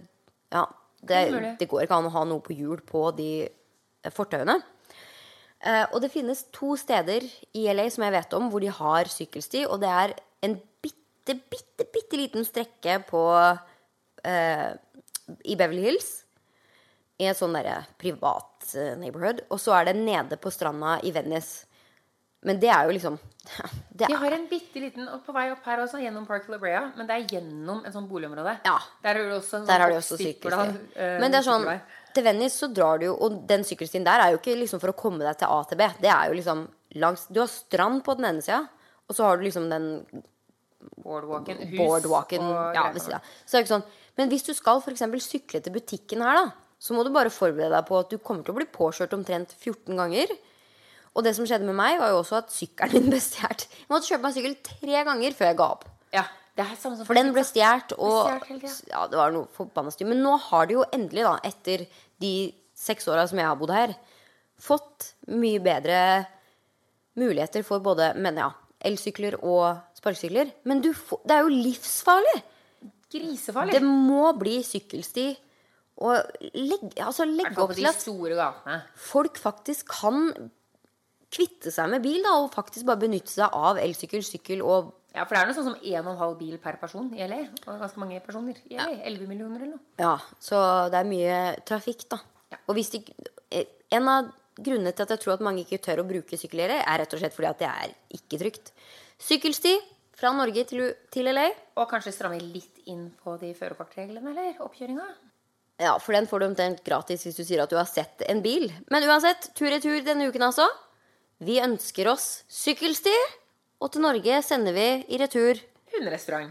S1: Ja, det,
S2: Det er mulig.
S1: det går ikke an å ha noe på hjul på de eh, fortauene. Eh, og det finnes to steder i LA som jeg vet om, hvor de har sykkelsti. Og det er en bitte, bitte, bitte liten strekke på eh, I Beverly Hills. I en sånn derre privat eh, neighborhood. Og så er det nede på stranda i Venice. Men det er jo liksom det
S2: Vi
S1: er,
S2: har en bitte liten og på vei opp her også, gjennom Park La Brea. Men det er gjennom en sånn boligområde.
S1: Ja.
S2: Der har du også en
S1: Der har
S2: sånn
S1: de også
S2: oppstikker,
S1: sykkelsti.
S2: da, eh,
S1: Men det er sånn,
S2: sykkelvei.
S1: til Venice så drar du jo Og den sykkelstien der er jo ikke liksom for å komme deg til A til B. Det er jo liksom langs Du har strand på den ene sida, og så har du liksom den
S2: Boardwalken, hus
S1: boardwalken
S2: og
S1: ja,
S2: greier.
S1: ved siden av. Så det er ikke sånn. Men hvis du skal for eksempel sykle til butikken her, da, så må du bare forberede deg på at du kommer til å bli påkjørt omtrent 14 ganger. Og det som skjedde med meg, var jo også at sykkelen min ble stjålet. Jeg måtte kjøpe meg sykkel tre ganger før jeg ga opp.
S2: Ja, det er samme som
S1: For den ble stjålet,
S2: Ble stjert
S1: og
S2: hele tiden.
S1: ja, det var noe forbanna styr. Men nå har de jo endelig, da, etter de seks åra som jeg har bodd her, fått mye bedre muligheter for både men ja, elsykler og sparkesykler. Men du, får- det er jo livsfarlig!
S2: grisefarlig.
S1: Det må bli sykkelsti. Og legge, altså
S2: I hvert
S1: legge
S2: fall
S1: opp
S2: på
S1: til
S2: de
S1: at
S2: store gatene.
S1: folk faktisk kan kvitte seg med bil, da, og faktisk bare benytte seg av elsykkel, sykkel og
S2: Ja, for det er noe sånn som 1,5 bil per person i LA. Og ganske mange personer i LA. 11 millioner eller noe.
S1: Ja, så det er mye trafikk, da.
S2: Ja.
S1: Og hvis de, eh, en av grunnene til at jeg tror at mange ikke tør å bruke sykkelgjerde, er rett og slett fordi at det er ikke trygt. Sykkelsti fra Norge til, U- til LA.
S2: Og kanskje stramme litt inn på de førerkortreglene, eller? Oppkjøringa.
S1: Ja, for den får du omtrent gratis hvis du sier at du har sett en bil. Men uansett, tur i tur denne uken, altså. Vi ønsker oss sykkelsti, og til Norge sender vi i retur
S2: Hunderestaurant.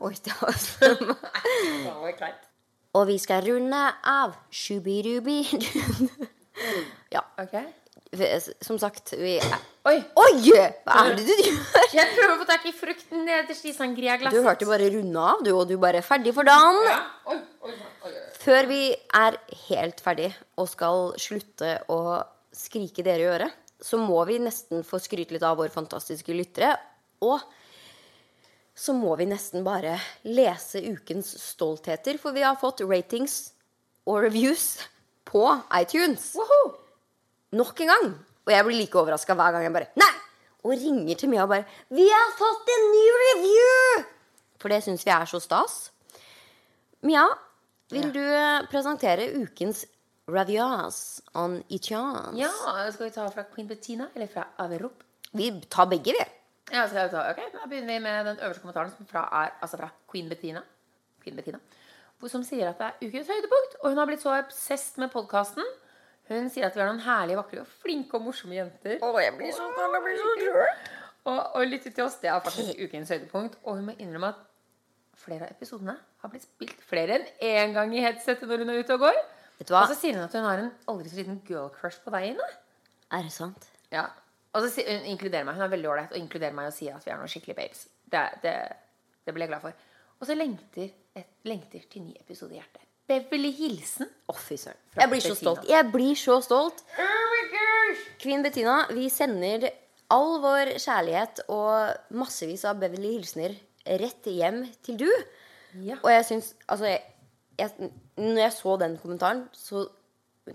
S1: Oi, det var Mm.
S2: Det var kleint.
S1: Og vi skal runde av. Shubirubi. ja.
S2: Ok.
S1: Som sagt, vi er
S2: Oi!
S1: Oi! Hva er det du gjør?
S2: Jeg prøver å få tak i frukten nederst i sånn sangria-glasset.
S1: Du hørte bare runde av, du, og du bare er ferdig for dagen.
S2: Ja. Oi, oi, oi, oi.
S1: Før vi er helt ferdig og skal slutte å skrike dere i øret, så må vi nesten få skryte litt av våre fantastiske lyttere. Og så må vi nesten bare lese ukens stoltheter, for vi har fått ratings og reviews på iTunes.
S2: Woho!
S1: Nok en gang. Og jeg blir like overraska hver gang jeg bare Nei! Og ringer til Mia og bare 'Vi har fått en ny review!' For det syns vi er så stas. Mia, vil du eh, presentere ukens reviews on iTunes?
S2: Ja, skal vi ta fra Queen Bettina eller fra Averop?
S1: Vi tar begge, vi.
S2: Ja, skal vi ta, ok, Da begynner vi med den øverste kommentaren, som fra er altså fra Queen Bettina. Queen Bettina hvor- som sier at det er ukens høydepunkt, og hun har blitt så obsessed med podkasten. Hun sier at vi er noen herlige, vakre og flinke og morsomme jenter.
S1: jeg blir så
S2: Og å lytte til oss, det er faktisk ukens høydepunkt. Og hun må innrømme at flere av episodene har blitt spilt flere enn én gang i headsetet når hun er ute og går.
S1: Vet du hva?
S2: Og så sier hun at hun har en aldri så liten girl crush på deg inne.
S1: Er det sant?
S2: Ja. Og så si- hun inkluderer meg. Hun er veldig ålreit og inkluderer meg og sier at vi er noen skikkelig babes. Det, det, det ble jeg glad for. Og så lengter, et, lengter til ny episode i hjertet. Beverly Hilsen.
S1: Å, fy søren. Jeg blir så stolt. Jeg blir så stolt.
S2: Oh my gosh!
S1: Kvinn Bettina, vi sender all vår kjærlighet og massevis av Beverly Hilsener rett hjem til du.
S2: Ja.
S1: Og jeg syns Altså, jeg, jeg, når jeg så den kommentaren, så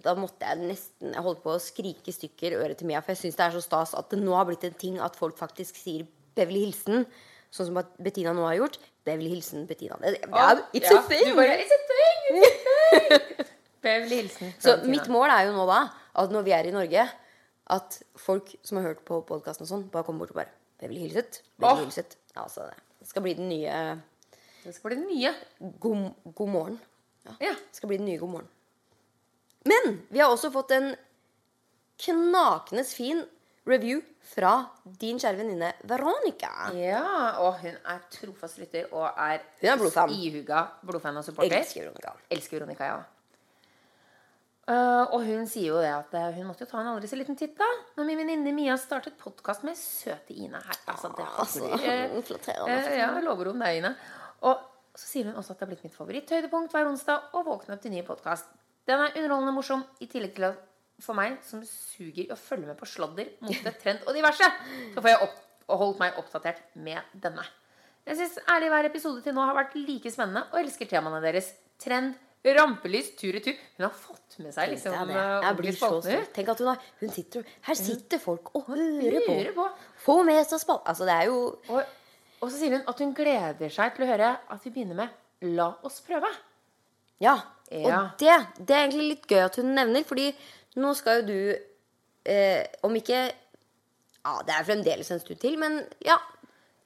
S1: da måtte jeg nesten Jeg holdt på å skrike i stykker øret til Mia, for jeg syns det er så stas at det nå har blitt en ting at folk faktisk sier Beverly Hilsen. Sånn som at Bettina nå har gjort. Beverly Hilsen Bettina. Det, det,
S2: Ja,
S1: er- it's
S2: ja.
S1: a thing!
S2: Du bare, it's a thing! It's a thing! Beverly Hilsen.
S1: Så
S2: Valentina.
S1: mitt mål er jo nå da at når vi er i Norge, at folk som har hørt på podkasten og sånn, bare kommer bort og bare Beverly Hilset.
S2: Åh.
S1: Beverly Hilset. Ja, altså, det skal bli den nye
S2: Det skal bli det nye.
S1: God, god morgen. Ja.
S2: Ja.
S1: Det skal bli den nye God morgen. Men vi har også fått en knakende fin review fra din kjære venninne Veronica.
S2: ja. Og hun er trofast lytter og er,
S1: Hun er blodfan.
S2: ihuga blodfan og
S1: Jeg
S2: supporter.
S1: elsker Veronica.
S2: Elsker Veronica, ja. Eh, og hun sier jo det at eh, hun måtte jo ta en aldri så liten titt da Når min venninne Mia startet podkast med søte Ina her. Altså, det er
S1: Altså,
S2: Eh,
S1: flatterende.
S2: Eh, ja, lover om deg, Ine. Og så sier hun også at det er blitt mitt favoritthøydepunkt hver onsdag å våkne opp til ny podkast. Den er underholdende og morsom, i tillegg til at for meg som suger i å følge med på sladder, mote, trend og diverse, så får jeg opp, og holdt meg oppdatert med denne. Jeg syns ærlig hver episode til nå har vært like spennende, og elsker temaene deres. Trend, rampelys, tur i tur. Hun har fått med seg liksom
S1: Det er det.
S2: eh,
S1: Jeg
S2: ordentlig
S1: blir så
S2: spalten, hun.
S1: stolt. Tenk at hun har hun sitter, Her sitter folk og hører på.
S2: Lurer på.
S1: Få med seg spalt... Altså, det er jo
S2: Og, og så sier hun at hun gleder seg til å høre at vi begynner med 'La oss prøve'.
S1: Ja.
S2: Ja.
S1: Og det, det er egentlig litt gøy at hun nevner, fordi nå skal jo du eh, Om ikke Ja, det er fremdeles en stund til, men ja.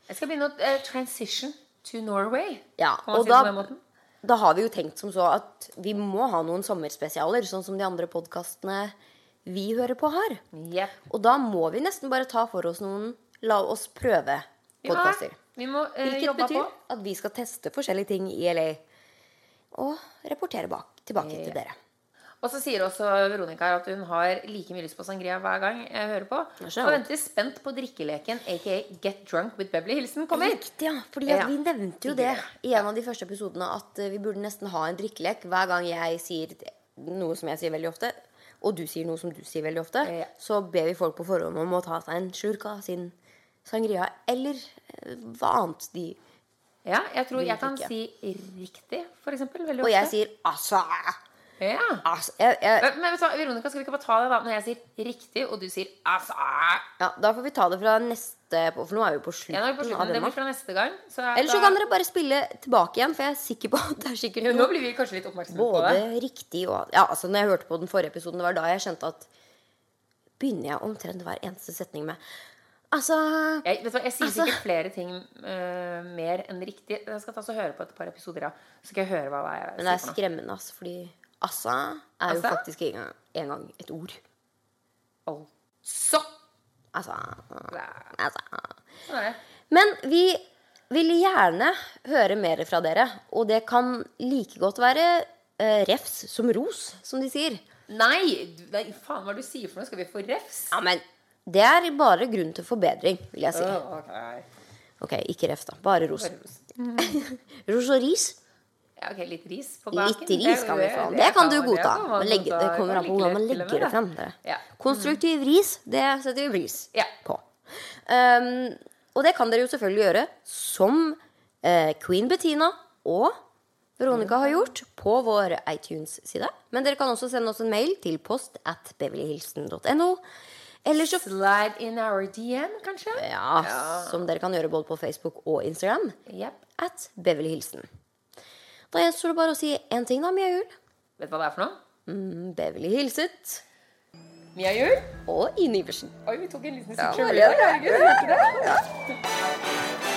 S2: Jeg skal begynne å eh, transition to Norway.
S1: Ja,
S2: Kan man
S1: og
S2: si det
S1: da-
S2: på den måten?
S1: Da har vi jo tenkt som så at vi må ha noen sommerspesialer, sånn som de andre podkastene vi hører på, har.
S2: Yep.
S1: Og da må vi nesten bare ta for oss noen La oss
S2: Vi må,
S1: prøve-podkaster.
S2: vi må eh,
S1: Hvilket
S2: jobbe
S1: betyr
S2: på.
S1: at vi skal teste forskjellige ting i LA. Og rapportere bak, tilbake
S2: Eh,
S1: til dere.
S2: Og så sier også Veronica her at hun har like mye lyst på sangria hver gang jeg hører på.
S1: Det er så
S2: Og venter spent på drikkeleken, aka Get Drunk with Beverly Hilsen, kommer.
S1: Riktig, ja. Fordi at
S2: Ja.
S1: vi nevnte jo det i en av de første episodene at eh, vi burde nesten ha en drikkelek hver gang jeg sier noe som jeg sier veldig ofte, og du sier noe som du sier veldig ofte,
S2: Ja.
S1: så ber vi folk på forhånd om å ta seg en slurk av sin sangria eller eh, hva annet de
S2: Ja, jeg tror jeg kan
S1: drikke.
S2: si riktig, for eksempel. Veldig
S1: Og
S2: ofte.
S1: jeg sier altså,
S2: ja.
S1: altså jeg, jeg,
S2: Men men vet du hva, Veronica, skal vi ikke bare ta det da når jeg sier riktig, og du sier altså
S1: ja, Da får vi ta det fra neste på- For nå er vi på slutten
S2: Ja, nå er vi på
S1: av
S2: slutten. Det
S1: denne.
S2: blir fra neste gang. Så er
S1: Eller så
S2: da-
S1: kan dere bare spille tilbake igjen, for jeg er sikker på at det er sikkert
S2: Jo,
S1: noe
S2: Nå blir vi kanskje litt oppmerksomme på det.
S1: både riktig og Ja, altså, når jeg hørte på den forrige episoden, det var da jeg kjente at Begynner jeg omtrent hver eneste setning med Altså
S2: Jeg, vet du hva, jeg sier
S1: Altså-
S2: sikkert flere ting eh, mer enn riktig. Jeg skal ta og høre på et par episoder, ja. Så skal jeg høre hva jeg
S1: Men det er
S2: sier. for noe.
S1: skremmende, altså, fordi Assa er jo
S2: Assa?
S1: faktisk en gang, en gang et ord.
S2: Altså.
S1: Altså,
S2: Sånn
S1: altså.
S2: er det.
S1: Men vi vil gjerne høre mer fra dere, og det kan like godt være eh, refs som ros, som de sier.
S2: Nei, du- nei, faen hva er det du sier for noe? Skal vi få refs?
S1: Ja, men det er bare grunn til forbedring, vil jeg si.
S2: Åh, ok.
S1: Ok, ikke ref, da. Bare ros.
S2: Bare ros.
S1: Ros og ris.
S2: Ja, ok, litt ris på baken.
S1: Litt ris kan vi få. Det kan du godta. Men legge, det kommer an på hvordan man legger det frem. Dere.
S2: Ja.
S1: Konstruktiv ris, det setter vi pris
S2: Ja.
S1: på. Um, og det kan dere jo selvfølgelig gjøre som eh, Queen Bettina og Veronica har gjort på vår iTunes-side. Men dere kan også sende oss en mail til post at beverlyhilsen.no. Eller så
S2: Slide in our DM, kanskje?
S1: ja, som dere kan gjøre både på Facebook og Instagram.
S2: Jep.
S1: At Beverly Hilsen. Da gjenstår det bare å si én ting, da, Mia Jul.
S2: Vet du hva det er for noe?
S1: Mm, Beverly hilset.
S2: Mia Jul?
S1: Og Ine Iversen.
S2: Oi, vi tok en liten
S1: Ja,
S2: sitch over
S1: ja,
S2: der. Herregud, hørte du det?